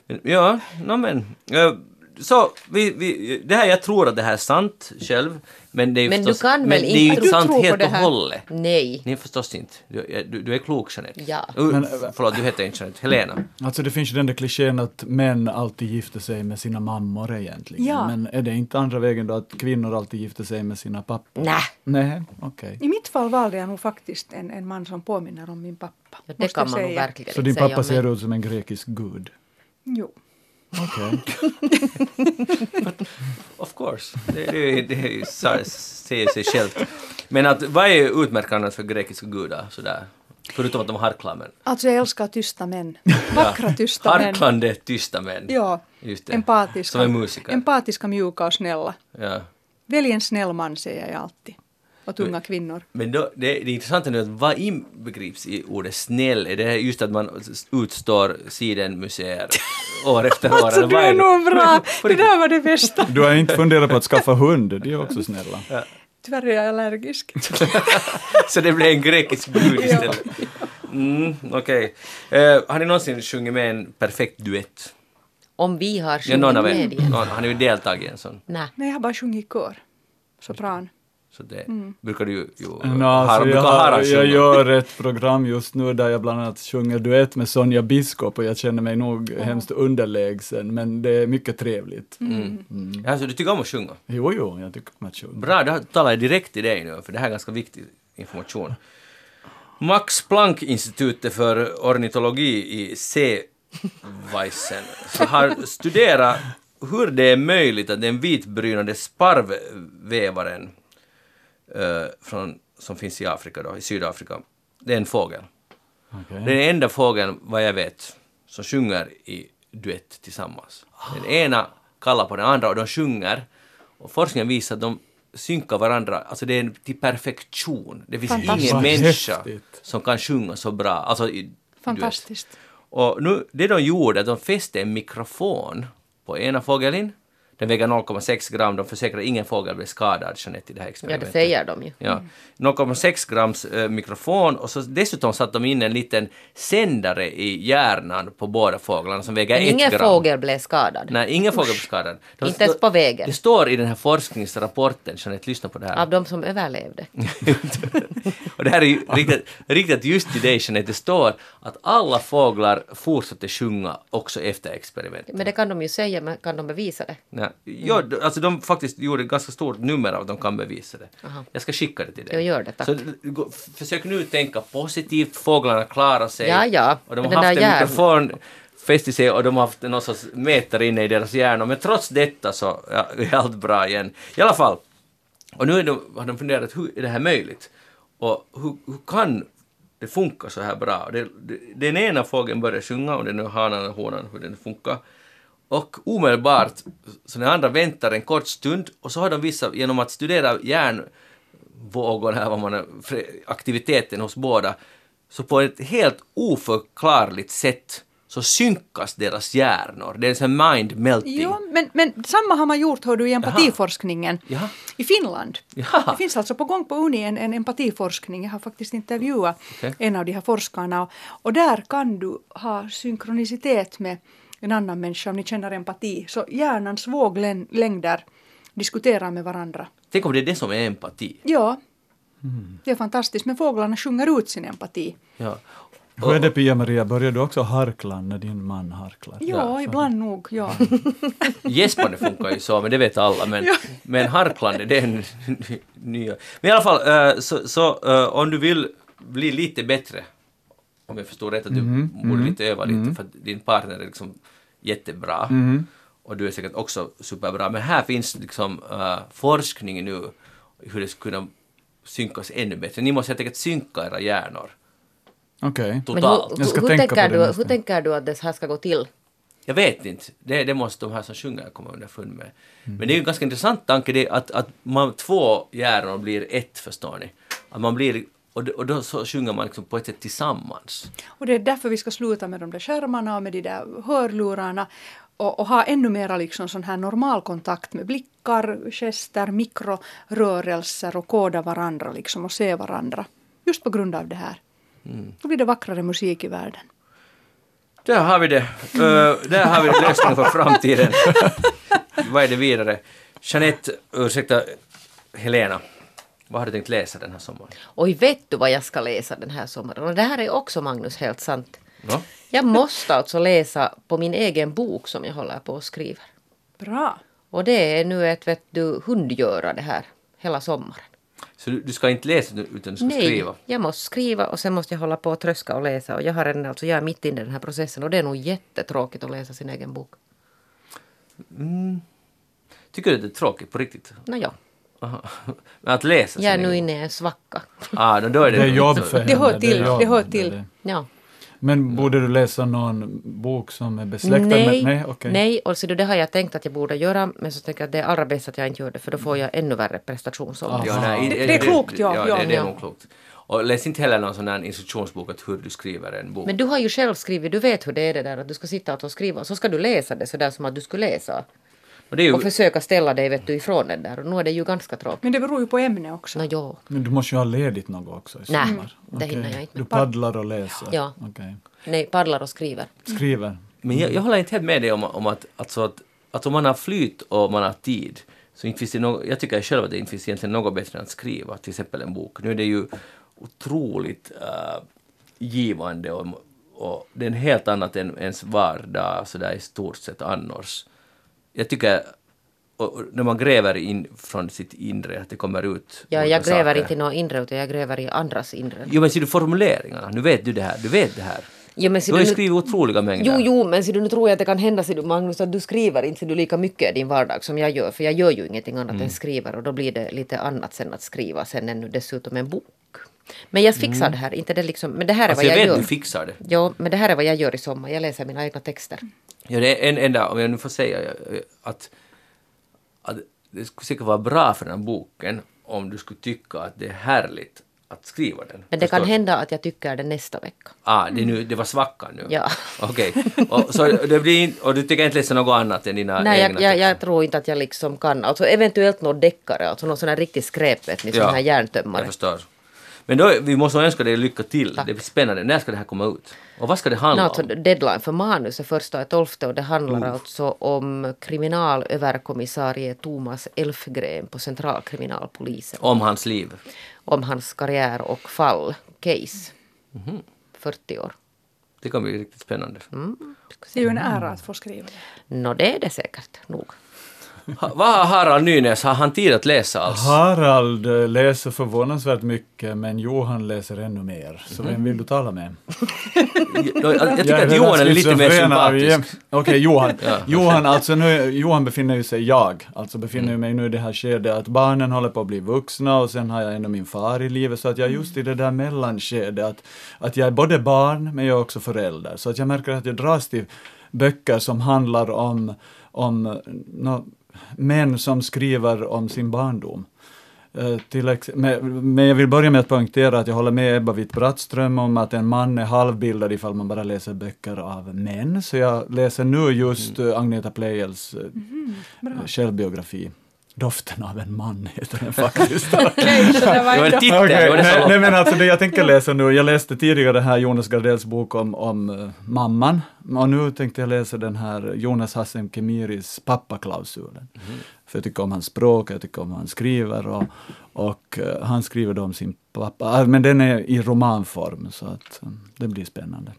S1: Men, ja, no, men. eh, Så, vi, vi, det här, jag tror att det här är sant själv. Men det är,
S2: Men du
S1: förstås,
S2: kan väl
S1: alltså, men det
S2: inte-
S1: är ju
S2: Du
S1: inte
S4: tror
S1: sant
S4: på
S1: helt
S4: det
S1: och
S4: här.
S1: hållet.
S2: Nej.
S1: Nej, förstås inte. Du, du, du är klok, Jeanette.
S2: Ja.
S1: Uh, förlåt, du heter inte Jeanette. Helena.
S3: Alltså det finns ju den där klichén att män alltid gifter sig med sina mammor egentligen.
S4: Ja.
S3: Men är det inte andra vägen då att kvinnor alltid gifter sig med sina pappor?
S2: Nä.
S3: Nej, okej.
S4: I mitt fall valde jag nog faktiskt en, en man som påminner om min pappa.
S2: Ja, det
S4: måste
S2: kan
S4: jag
S2: man nog
S4: säga.
S2: verkligen
S3: Så
S2: inte
S3: din pappa
S2: säga.
S3: ser ut som en grekisk gud?
S4: Jo.
S3: Okej.
S1: Of course. Det, det, det sa- säger sig självt. Men att, vad är utmärkande för grekiska gudar? Sådär? Förutom att de harklar, men
S4: Alltså jag älskar tysta män. Vackra tysta män.
S1: harklande tysta män.
S4: Ja,
S1: Just det.
S4: empatiska.
S1: Som är musiker.
S4: Empatiska, mjuka och snälla.
S1: ja.
S4: Välj en snäll man säger jag alltid. Och unga kvinnor.
S1: Men då, det, det intressanta nu är att vad inbegrips i ordet snäll? Är det just att man s- utstår sidenmuseer år efter år?
S4: [laughs] Alltså
S1: eller
S4: du
S1: vad
S4: är
S1: det?
S4: nog bra!
S1: [laughs] på
S4: Det
S1: riktigt.
S4: där var det bästa.
S3: Du har inte funderat på att skaffa hund? De är också snälla.
S4: Tyvärr är jag allergisk.
S1: Så det blir en grekisk gud
S4: Ja.
S1: istället. Mm, okej. Eh, har ni någonsin sjungit med en perfekt duett?
S2: Om vi har
S1: Ja,
S2: sjungit
S1: någon av
S2: med
S1: er?
S2: igen.
S1: Någon, har ni ju deltagit i en sån?
S2: Nä.
S4: Nej, jag har bara sjungit i kör. Sopran.
S1: Så det brukar du ju... ju
S3: No,
S1: har,
S3: alltså
S1: brukar
S3: jag,
S1: Harald
S3: har, jag
S1: sjunga.
S3: gör ett program just nu där jag bland annat sjunger duett med Sonja Biskop och jag känner mig nog hemskt underlägsen men det är mycket trevligt.
S2: Mm.
S1: Alltså, du tycker om att sjunga?
S3: Jo, jo, jag tycker om att sjunga.
S1: Bra, då talar jag direkt till dig nu, för det här är ganska viktig information. Max Planck-institutet för ornitologi i Seeweissen så har studerat hur det är möjligt att den vitbrynade sparvvävaren eh, från, som finns i Afrika då, i Sydafrika, det är en fågel.
S3: Okej.
S1: Det är Mm. den enda fågeln, vad jag vet, som sjunger i duett tillsammans. Den ena kallar på den andra och de sjunger. Och forskningen visar att de synkar varandra, alltså det är till perfektion. Det finns
S4: Fantastiskt.
S1: ingen
S3: Vad
S1: människa
S3: häftigt.
S1: som kan sjunga så bra. Alltså i, Fantastiskt.
S4: Fantastiskt.
S1: Och nu, det de gjorde, de fäste en mikrofon på ena fågeln, Den väger 0,6 gram, de försäkrar ingen fågel blir skadad, Jeanette, i det här
S2: Ja,
S1: experimentet.
S2: det säger de ju.
S1: Ja. 0,6 grams eh, mikrofon och så dessutom satte de in en liten sändare i hjärnan på båda fåglarna som väger ett
S2: Ingen
S1: gram.
S2: fågel blev skadad.
S1: Nej, ingen fågel blev skadad. De-
S2: Inte ens på vägen.
S1: Det står i den här forskningsrapporten, Jeanette, lyssna på det här.
S2: Av de som överlevde.
S1: [laughs] och det här är ju riktigt, riktigt just till dig, Jeanette, det står att alla fåglar fortsatte sjunga också efter experimentet.
S2: Men det kan de ju säga, men kan de bevisa det?
S1: Nej.
S2: Mm.
S1: Ja, d- alltså de faktiskt gjorde ett ganska stort nummer av att de kan bevisa det. Jag ska skicka det till dig.
S2: Jag gör det, tack.
S1: Så, d- gå- f- försök nu tänka positivt, fåglarna klarar sig.
S2: Ja, ja.
S1: Och de
S2: Den
S1: har haft
S2: där
S1: en
S2: hjärnan.
S1: mikrofon fäst i sig och de har haft någon sorts mätare inne i deras hjärnor. Men trots detta så ja, är allt bra igen. I alla fall, och nu är de, har de funderat hur är det här möjligt? Och hur, hur kan det funka så här bra? Och Det, det, den ena fågeln börjar sjunga och den är hanan eller honan hur den funkar. Och omedelbart, så den andra väntar en kort stund och så har de visat genom att studera hjärnvågorna, här, vad man, fre- aktiviteten hos båda, så på ett helt oförklarligt sätt så synkas deras hjärnor. Det är en sån här mind melting.
S4: Jo, men, men samma har man gjort hör du, i empatiforskningen
S1: Jaha.
S4: i Finland.
S1: Jaha.
S4: Det finns alltså på gång på Uni en, en empatiforskning. Jag har faktiskt intervjuat
S1: Okej.
S4: en av de här forskarna och, och där kan du ha synkronicitet med en annan människa om ni känner empati. Så hjärnans våglängder diskuterar med varandra.
S1: Tänk om det är det som är empati.
S4: Ja, det är fantastiskt. Men fåglarna sjunger ut sin empati.
S1: Ja.
S3: Hur är det Pia-Maria, börjar du också harkla när din man harklar?
S4: Ja, ibland nog. Ja.
S1: Gäspande funkar ju så, men det vet alla. Men, men harklande, det är en ny- nya. Men i alla fall, eh, så, så eh, om du vill bli lite bättre, om jag förstår rätt, att du borde lite öva lite, för att din partner är liksom jättebra. Och du är säkert också superbra. Men här finns liksom eh, forskning nu, hur det skulle kunna synkas ännu bättre. Ni måste helt enkelt synka era hjärnor.
S3: Okej.
S2: Men
S1: Totalt.
S2: hur,
S3: Jag ska
S2: hur,
S3: tänka
S2: tänker
S3: på det
S2: du,
S3: nästa.
S2: hur tänker du att det här ska gå till?
S1: Jag vet inte. Det, det måste de här som sjunger komma underfund med. Men det är ju en ganska intressant tanke det är att, att man, två hjärnor blir ett, förstår ni. Att man blir, och, då- och då så sjunger man liksom på ett sätt tillsammans.
S4: Och det är därför vi ska sluta med de där skärmarna och med de där hörlurarna och, och ha ännu mera liksom sån här normal kontakt med blickar, gester, mikrorörelser och koda varandra liksom och se varandra. Just på grund av det här. Då blir det vackrare musik i världen.
S1: Där har vi det. Ö, där har vi lösningen för [laughs] framtiden. vad är det vidare? Jeanette, ursäkta, Helena. Vad har du tänkt läsa den här sommaren?
S2: Oj, vet du vad jag ska läsa den här sommaren? Och det här är också, Magnus, helt sant.
S1: Ja.
S2: Jag måste alltså läsa på min egen bok som jag håller på och skriver.
S4: Bra!
S2: Och det är nu ett, vet du, hundgöra det här hela sommaren.
S1: Så du, du ska inte läsa utan du ska
S2: Nej,
S1: skriva?
S2: jag måste skriva och sen måste jag hålla på och tröska och läsa. Och jag, har en, alltså, jag är mitt inne i den här processen och det är nog jättetråkigt att läsa sin egen bok.
S1: Tycker du att det är tråkigt på riktigt?
S2: Nåja,
S1: Aha. [laughs] Men att läsa
S2: jag är
S1: sin
S2: nu
S1: egen-
S2: inne i en svacka.
S1: Ah, då, då är det,
S3: Det är
S1: nog
S3: jobb
S1: inte så-
S3: för henne.
S4: Det hör till,
S3: jobb,
S4: det hör till.
S3: det.
S2: Ja.
S3: Men borde du läsa någon bok som är besläktad med... Nej, okej.
S2: nej, och så det har jag tänkt att jag borde göra men så tänker jag att det är allra bäst att jag inte gör det för då får jag ännu värre prestationsångest.
S1: Ah. Ja, nej,
S4: Det- det är klokt, ja,
S1: ja,
S4: ja.
S1: det, det är
S2: Ja.
S1: nog klokt. Och läs inte heller någon sån här instruktionsbok att hur du skriver en bok.
S2: Men du har ju själv skrivit, du vet hur det är det där att du ska sitta och ta och skriva och så ska du läsa det sådär som att du skulle läsa.
S1: och det är ju,
S2: Och försöka ställa dig vet du, ifrån den där och nu är det ju ganska tråkigt.
S4: Men det beror ju på ämne också.
S2: Nå jo.
S3: Men du måste ju ha ledigt något också i
S2: Nej,
S3: sommar.
S2: det hinner jag inte
S3: Du paddlar och läser?
S2: Ja.
S3: Okej.
S2: Nej, paddlar och skriver.
S3: Skriver?
S1: men jag, jag håller inte helt med dig om, om att, alltså att, att om man har flyt och man har tid så inte finns det något, jag tycker själv att det inte finns egentligen något bättre än att skriva till exempel en bok. Nu är det ju otroligt äh, givande och, och det är en helt annat än ens vardag sådär i stort sett annars. Jag tycker och, och när man gräver in från sitt inre att det kommer ut
S2: Ja,
S1: olika
S2: jag gräver
S1: saker.
S2: inte i något inre utan jag gräver i andras inre.
S1: Jo men ser du formuleringarna, nu vet du det här, du vet det här.
S2: Ja, men ser
S1: Du har ju
S2: nu-
S1: skrivit otroliga mängder.
S2: Jo, jo, men ser du, nu tror jag att det kan hända, ser du, Magnus, att du skriver inte ser du, lika mycket i din vardag som jag gör. För jag gör ju ingenting annat
S1: Mm.
S2: än skriver och då blir det lite annat sen att skriva sen än nu dessutom en bok. Men jag fixar det här, inte det liksom, men det här är
S1: Mm. Alltså
S2: vad
S1: jag
S2: jag,
S1: vet
S2: gör.
S1: du fixar det.
S2: Jo, men det här är vad jag gör i sommar, jag läser mina egna texter.
S1: Ja, det är en enda, om jag nu får säga eh, att, att det skulle säkert vara bra för den här boken om du skulle tycka att det är härligt att skriva den.
S2: Men det
S1: Förstår
S2: kan
S1: du?
S2: hända att jag tycker det nästa vecka.
S1: Ah, det, är nu, det var svackan nu?
S2: Ja.
S1: Okej. Och, så det blir in, och du tycker inte läsa något annat än dina
S2: Nej,
S1: egna
S2: jag, jag,
S1: texter?
S2: jag tror inte att jag liksom kan. Alltså eventuellt någon deckare, alltså någon sån här riktigt skräpet, liksom
S1: Ja,
S2: sån här
S1: Jag
S2: järntömmare.
S1: förstår. Men då, vi måste önska dig lycka till.
S2: Tack.
S1: Det blir spännande. När ska det här komma ut? Och vad ska det handla
S2: No, alltså,
S1: om?
S2: deadline för manus är första och tolfte och det handlar alltså om kriminalöverkommissarie Thomas Elfgren på Centralkriminalpolisen.
S1: Om hans liv.
S2: Om hans karriär och fall, case. 40 år.
S1: Det kommer bli riktigt spännande.
S4: Mm. Det är ju en ära att få skriva [laughs] det.
S2: Nå, det är det säkert nog.
S1: Ha, vad har Harald Nynäs, har han tid att läsa alls?
S3: Harald eh, läser förvånansvärt mycket men Johan läser ännu mer. Så vem vill du tala med?
S1: Jag, jag tycker
S3: är
S1: att Johan är
S3: redan
S1: lite mer
S3: schizofren av
S1: sympatisk.
S3: jäm-
S1: [laughs]
S3: Okej, Johan. Johan, alltså nu, Johan befinner ju sig, jag, alltså befinner
S1: Mm.
S3: ju mig nu i det här skedet att barnen håller på att bli vuxna och sen har jag ännu min far i livet så att
S1: Mm.
S3: jag är just i det där mellanskedet att, att jag är både barn men jag är också förälder. Så att jag märker att jag dras till böcker som handlar om, om eh, nå, män som skriver om sin barndom. Eh, Till ex- men, men jag vill börja med att poängtera att jag håller med Ebba Witt-Brattström om att en man är halvbildad ifall man bara läser böcker av män. Så jag läser nu just eh, Agneta Pleijels eh, eh, självbiografi. Doften av en man heter den faktiskt. [laughs]
S4: Okej, så det [laughs]
S1: Det var
S4: var
S1: en
S4: ändå...
S1: titel, det var det
S3: nej,
S1: som
S3: nej
S1: var-
S3: men alltså det jag tänker läsa nu, jag läste tidigare här Jonas Gardells bok om, om eh, mamman och nu tänkte jag läsa den här Jonas Hassem Kemiris pappaklausulen.
S1: Mhm.
S3: För jag tycker om hans språk, jag tycker om hur han skriver och, och eh, han skriver då om sin pappa, Ah, men den är i romanform så att mm, det blir spännande.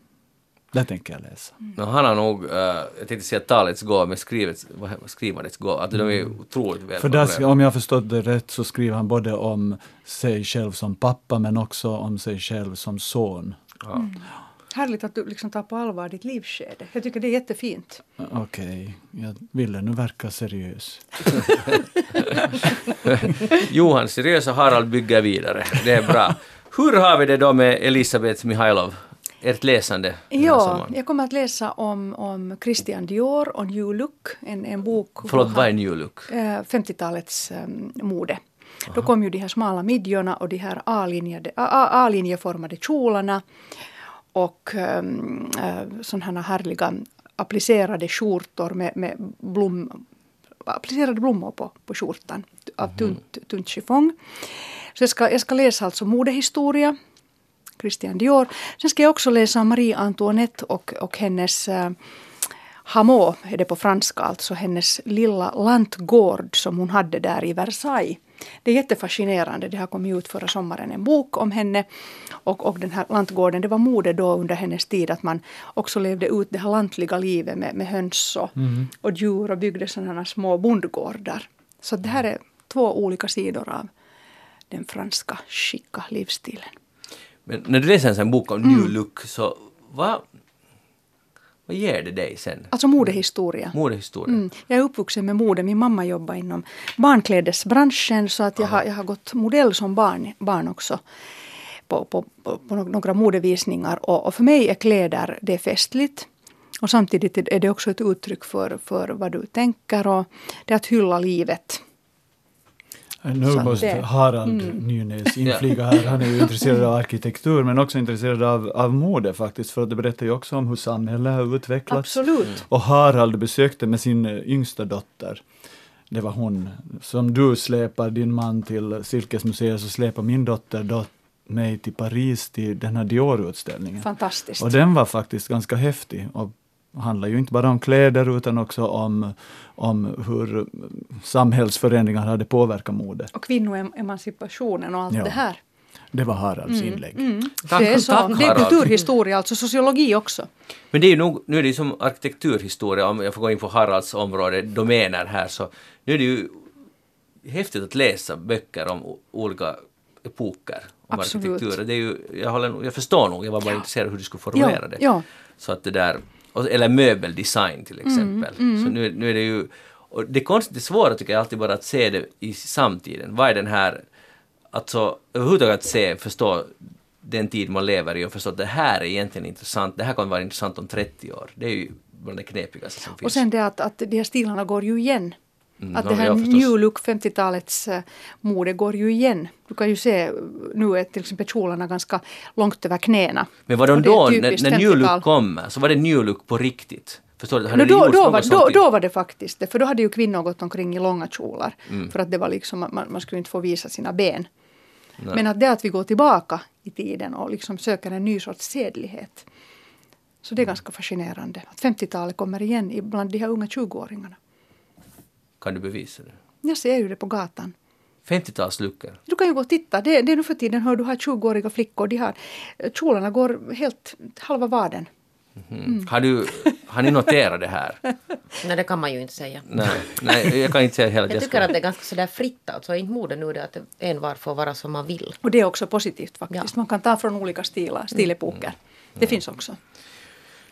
S3: Det tänker jag läsa.
S1: No, han har nog, eh, jag tänkte säga talets gåva, men skrivets, vad heter- skrivandets gåva. Att de är otroligt väl
S3: Mm. För där,
S1: formulerade.
S3: om jag förstått det rätt så skriver han både om sig själv som pappa men också om sig själv som son.
S1: ja.
S4: Härligt att du liksom tar på allvar ditt livskede. Jag tycker det är jättefint.
S3: Okej, jag ville nu verka seriös.
S1: Johan, seriösa Harald bygger vidare. Det är bra. Hur har vi det då med Elisabeth Mihailov? Ert läsande? den här
S4: Ja,
S1: sommaren?
S4: jag kommer att läsa om, om Christian Dior och New Look, en, en bok.
S1: Förlåt, vad är New Look?
S4: Eh, 50-talets eh, mode. Då kom ju de här smala midjorna och de här A-linjade- A- A- A-linjeformade kjolarna och um, sådana här härliga applicerade skjortor med, med blom, applicerade blommor på, på skjortan av tunt, tunt chiffong. Så jag ska, jag ska läsa alltså modehistoria Christian Dior. Sen ska jag också läsa Marie Antoinette och, och hennes eh, Hamo är det på franska, alltså hennes lilla lantgård som hon hade där i Versailles. Det är jättefascinerande. Det har kommit ut förra sommaren en bok om henne. Och, och den här lantgården, det var mode då under hennes tid att man också levde ut det här lantliga livet med, med höns och, och djur och byggde sådana små bondgårdar. Så det här är två olika sidor av den franska chica livsstilen.
S1: Men när du läser en sån här bok om
S4: Mm.
S1: New Look, så vad, vad ger det dig sen?
S4: Alltså modehistoria.
S1: Modehistoria?
S4: Mm. Jag är uppvuxen med mode. Min mamma jobbar inom barnklädesbranschen så att jag, har, jag har gått modell som barn, barn också på, på, på, på några modevisningar. Och, och för mig är kläder det är festligt. Och samtidigt är det också ett uttryck för, för vad du tänker och det är att hylla livet.
S3: Äh, Nu
S4: Så att
S3: måste
S4: det- Mm.
S3: Harald Nynäs inflyga här. Han är ju intresserad av arkitektur men också intresserad av, av mode faktiskt. För att det berättar ju också om hur samhället har utvecklats.
S4: Absolut.
S3: Och Harald besökte med sin eh, yngsta dotter. Det var hon. Som du släpar din man till Silkesmuseet så släpar min dotter dot mig till Paris till den här Dior-utställningen.
S4: Fantastiskt.
S3: Och den var faktiskt ganska häftig. Och handlar ju inte bara om kläder utan också om, om hur samhällsförändringar hade påverkat mode.
S4: Och kvinnoemancipationen och allt
S3: Ja.
S4: det här. Mm,
S3: Det var Haralds inlägg.
S1: Tack-
S4: det, är så,
S1: tack,
S4: det är
S1: Harald.
S4: kulturhistoria, alltså sociologi också.
S1: Men det är ju nog, nu är det ju som arkitekturhistoria, om jag får gå in på Haralds område, domäner här, så nu är det ju häftigt att läsa böcker om o- olika epoker. Om
S4: Absolut.
S1: arkitektur. Det är ju, jag, håller, nog- jag förstår nog, jag var bara intresserad av hur du skulle formulera
S4: Ja,
S1: det.
S4: ja.
S1: Så att det där, och- eller möbeldesign
S4: Mm,
S1: till exempel. Så nu, nu är det ju, och det konstigt, det svåra tycker jag alltid bara att se det i samtiden. Vad är den här, alltså överhuvudtaget att se, förstå den tid man lever i och förstå att det här är egentligen intressant, det här kommer vara intressant om 30 år. Det är ju bland det knepigaste som finns.
S4: Och sen det att, att de här stilarna går ju igen.
S1: Mm,
S4: Att
S1: no,
S4: det här
S1: ja, förstås.
S4: new look 50-talets eh, mode går ju igen. Du kan ju se eh, nu är till exempel kjolarna ganska långt över knäna.
S1: Men var de
S4: Och det är
S1: då, när,
S4: typiskt
S1: när New Look
S4: 50-tal.
S1: kom, så var det New Look på riktigt? Förstår du? Hade
S4: No,
S1: det
S4: då,
S1: gjorts
S4: då,
S1: något
S4: var,
S1: sånt
S4: då,
S1: i-
S4: då var det faktiskt det, för då hade ju kvinnor gått omkring i långa kjolar. För att det var liksom, att man, man skulle inte få visa sina ben.
S1: Nej.
S4: Men att det att vi går tillbaka i tiden och liksom söker en ny sorts sedlighet. Så det är ganska fascinerande. Att 50-talet kommer igen i- bland de här unga 20-åringarna.
S1: Kan du bevisa det?
S4: Jag ser ju det på gatan.
S1: 50-talsluckor.
S4: Du kan ju gå och titta. Det, det är nu för tiden, hör du, har 20-åriga flickor. De har, eh, kjolarna går helt halva vaden.
S1: Mm. Har, du, har ni noterat det
S4: [laughs]
S1: här?
S2: Nej, det kan man ju inte säga.
S1: Nej, nej jag kan inte säga heller att
S2: Jag
S1: jag
S2: tycker att
S1: skulle...
S2: det är ganska sådär fritt alltså. Är inte mode nu det att en var får vara som man vill?
S4: Och det är också positivt faktiskt.
S2: Ja.
S4: Man kan ta från olika stilar, stilepoker. Det finns också.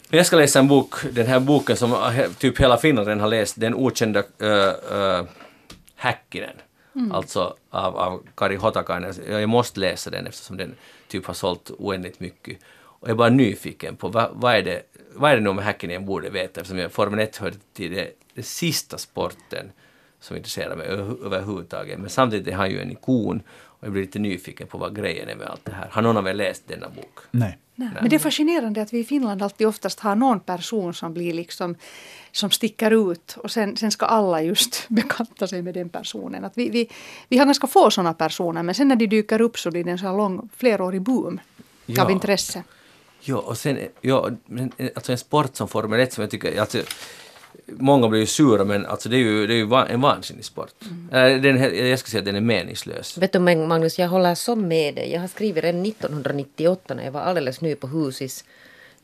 S1: Men Jag ska läsa en bok, den här boken som he- typ hela Finland redan har läst, Den okända äh, äh, Häkkinen.
S2: Mm.
S1: Alltså av, av Kari Hotakainen. Jag jag måste läsa den eftersom den typ har sålt oändligt mycket. Och jag är bara nyfiken på vad, vad, är, det, vad är det nu med Häkkinen jag borde veta eftersom jag Formel 1 hör till det, den sista sporten som intresserar mig ö- överhuvudtaget. Men samtidigt är han ju en ikon och jag blir lite nyfiken på vad grejen är med allt det här. Har någon av er läst denna bok?
S3: Nej.
S4: Nej. Men det är fascinerande att vi i Finland alltid oftast har någon person som blir liksom som sticker ut och sen, sen ska alla just [laughs] bekanta sig med den personen. Att vi, vi, vi har ganska få sådana personer men sen när de dyker upp så blir det en sån här lång flerårig boom
S1: Ja.
S4: av intresse.
S1: Ja, och sen, ja, men alltså en sport som Formel 1 som jag tycker, alltså, många blir ju sura men alltså det är ju, det är ju va- en vansinnig sport. Eller Den, här- jag ska säga att den är meningslös.
S2: Vet du men Magnus, jag håller så med dig. Jag har skrivit redan 1998 när jag var alldeles ny på Husis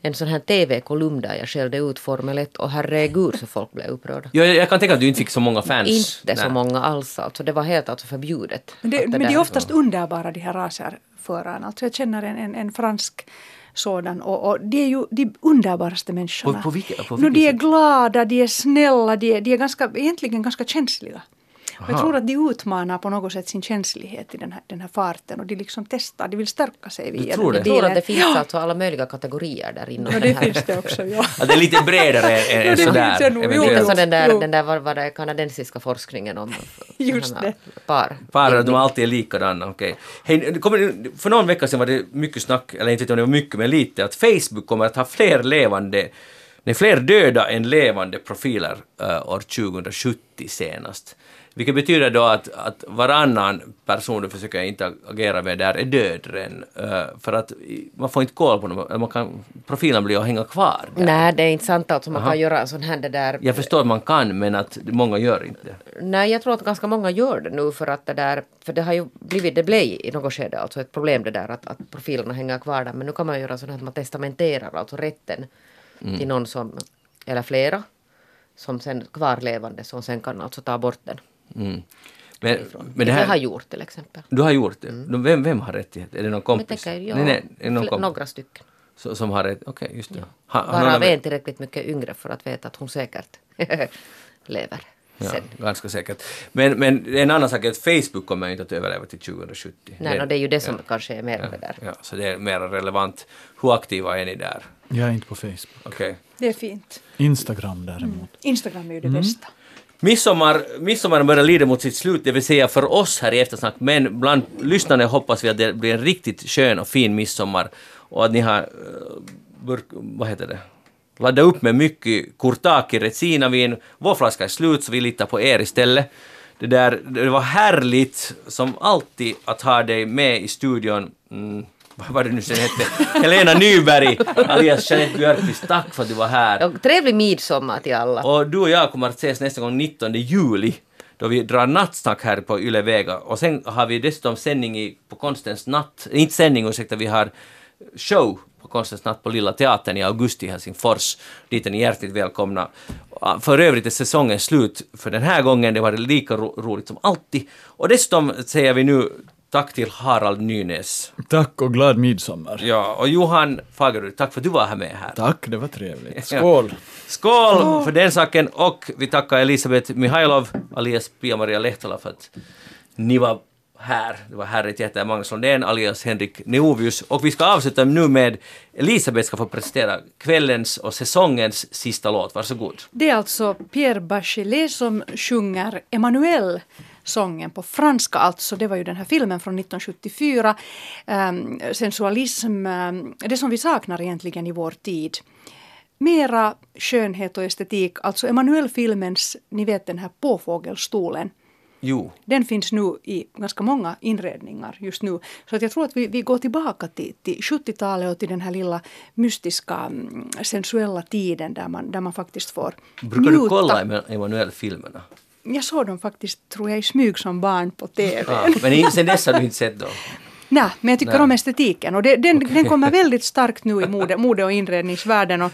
S2: en sån här TV-kolumn där jag skällde ut Formel 1 och herregud så folk blev upprörda.
S1: Ja, jag, jag kan tänka att du inte fick så många fans.
S2: Inte så
S1: Nej.
S2: många alls alltså. Det var helt alltså förbjudet.
S4: Men det,
S2: att
S4: men det är
S2: där-
S4: oftast underbara de här racerförarna. Alltså jag känner en, en, en fransk sådan och, och det är ju de underbaraste människorna.
S1: På- på vilka- på
S4: no,
S1: vilket
S4: de är
S1: sätt?
S4: glada, de är snälla, de är, de är ganska, egentligen ganska känsliga. Och jag
S1: Aha.
S4: tror att de utmanar på något sätt sin känslighet i den här, den här farten och de liksom testar, de vill stärka sig via
S1: tror
S4: den
S1: det?
S2: Jag
S4: här
S2: tror
S4: bilen.
S2: att det finns
S4: ja,
S2: alltså alla möjliga kategorier där inom
S4: no,
S2: den
S4: det
S2: här.
S4: finns det också. Ja.
S1: Att det är lite bredare än,
S4: Ja,
S1: än
S4: det finns det
S1: sådär.
S4: nog. Jo,
S2: Det är
S1: eventuellt.
S2: så den där,
S4: Jo.
S2: den där vad var det, kanadensiska forskningen om
S4: Just
S2: sådana här
S4: det.
S2: par.
S1: Par, de alltid är likadana, okej. Hej, nu kommer det- för någon vecka sedan var det mycket snack, eller inte vet jag om det var mycket, men lite, att Facebook kommer att ha fler levande, nej, fler döda än levande profiler eh, år 2070 senast. Vilket betyder då att, att varannan person du försöker interagera med där är död redan, eh, för att i- man får inte koll på dem, eller man kan, profilen blir att hänga kvar. där.
S2: Nej, det är inte sant alltså. Man kan göra en sån här det där
S1: Jag förstår att man kan, men att många gör inte.
S2: Nej, jag tror att ganska många gör det nu för att det där, för det har ju blivit, det blev i något skede alltså ett problem det där att, att profilerna hänger kvar där. Men nu kan man göra sådant att man testamenterar alltså rätten
S1: Mm.
S2: till någon som, eller flera, som sen kvarlevande som sen kan alltså ta bort den.
S1: Mm. Men, men det
S2: Vilket jag har
S1: här,
S2: gjort till exempel.
S1: du har gjort det. Vem, vem har rättighet? Är det någon
S2: Mm. Men
S1: kompis?
S2: tänker jag,
S1: nej, nej, är det någon
S2: fl-
S1: kompis?
S2: några stycken.
S1: Så, som har ett... Okej, just det. Ha, har någon
S2: Varav
S1: av er-
S2: en tillräckligt mycket yngre för att veta att hon säkert [laughs] lever
S1: Ja,
S2: sen.
S1: ganska säkert. Men, men en annan sak är att Facebook kommer ju inte att överleva till 2070.
S2: Nej, no, det är ju det som kanske är mer det där.
S1: Ja, så det är mer relevant. Hur aktiva är ni där?
S3: Jag är inte på Facebook.
S1: Okej.
S4: Det är fint.
S3: Instagram däremot.
S4: Instagram är ju det
S1: Mm.
S4: bästa.
S1: Midsommar, midsommar börjar lida mot sitt slut, det vill säga för oss här i Eftersnack, men bland lyssnarna hoppas vi att det blir en riktigt skön och fin midsommar och att ni har eh, burk, vad heter det? laddat upp med mycket kurtaki, rezinavin. Vår flaska är slut så vi litar på er istället. Det, där, det var härligt som alltid att ha dig med i studion. Mm, [laughs] vad var det nu sen hette? Helena Nyberg, alias Jeanette Björkqvist. Tack för att du var här.
S2: Och trevlig midsommar till alla.
S1: Och du och jag kommer att ses nästa gång 19 juli då vi drar nattsnack här på Yle Vega. Och sen har vi dessutom sändning i, på Konstens natt, inte sändning ursäkta, vi har show på Konstens natt på Lilla Teatern i augusti i Helsingfors. Dit är ni hjärtligt välkomna. Och För övrigt är säsongen slut för den här gången. Det var lika ro- roligt som alltid. Och dessutom säger vi nu tack till Harald Nynäs.
S4: Mm.
S3: Tack och glad midsommar.
S1: Ja, och Johan Fagerud, tack för att du var här med här.
S3: Tack, det var trevligt.
S1: Ja.
S3: Skål!
S1: Skål för den saken och vi tackar Elisabeth Mihailov alias Pia-Maria Lehtola för att ni var här. Det var herre Tietä Magnus Lundén, alias Henrik Neovius. Och vi ska avsluta nu med Elisabeth ska få presentera kvällens och säsongens sista låt. Varsågod.
S4: Det är alltså Pierre Bachelet som sjunger Emmanuel sången på franska alltså. Det var ju den här filmen från 1974. Um, sensualism, um, det som vi saknar egentligen i vår tid. Mera skönhet och estetik, alltså Emanuel-filmens, ni vet den här påfågelstolen.
S1: Jo.
S4: Den finns nu i ganska många inredningar just nu. Så att jag tror att vi, vi går tillbaka till, till 70-talet och till den här lilla mystiska mm, sensuella tiden där man, där man faktiskt får
S1: Brukar du kolla Ema- Emanuel-filmerna?
S4: Jag såg dem faktiskt, tror jag, i smyg som barn på TV.
S1: Ja, Ah, men in- sen dess har du inte sett dem?
S4: Nej, men jag tycker
S1: Nej.
S4: om estetiken och det, den, den kommer väldigt starkt nu i mode, mode och inredningsvärlden och,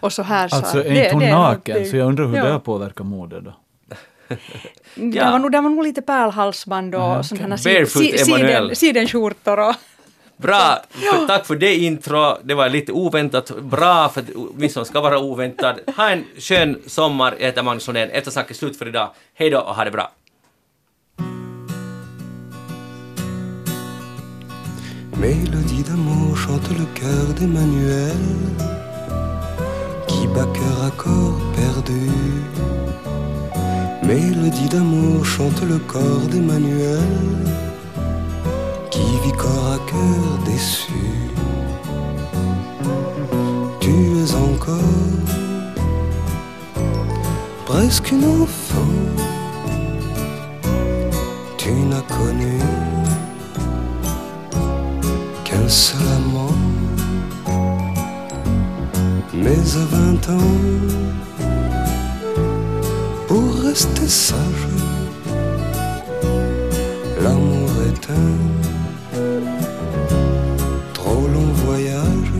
S4: och så här. så
S3: Alltså
S4: att
S3: är inte hon
S4: är
S3: naken?
S4: någonting-
S3: Så jag undrar hur
S4: ja.
S3: det här påverkar modet då?
S4: Det var, nog, det var nog lite pärlhalsband och sådana här
S1: Barefoot Emanuel.
S4: siden, sidenskjortor och
S1: Bra! För, tack för det intro. Det var lite oväntat. Bra för att åtminstone ska vara oväntad. Ha en skön sommar. Jag heter Magnus Lundén. Eftersnack är slut för idag. Hej då och ha det bra.
S6: Mélodie d'amour chante le cœur d'Emmanuel Qui bat cœur à corps perdu Mélodie d'amour chante le corps d'Emmanuel Qui vit corps à cœur déçu Tu es encore presque une enfant Tu n'as connu qu'un seul amant. Mais à vingt ans, pour rester sage, l'amour est un trop long voyage.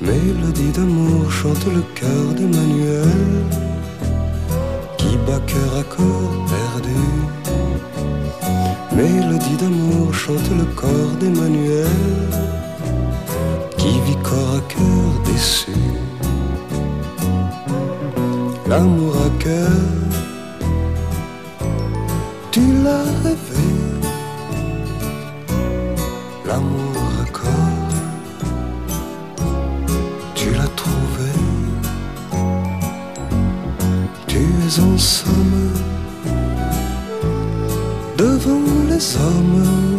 S6: Mélodie d'amour chante le cœur d'Emmanuel, qui bat cœur à corps perdu. Mélodie d'amour chante le corps d'Emmanuel Qui vit corps à cœur déçu L'amour à cœur Tu l'as rêvé L'amour à corps Tu l'as trouvé Tu es en somme devant les hommes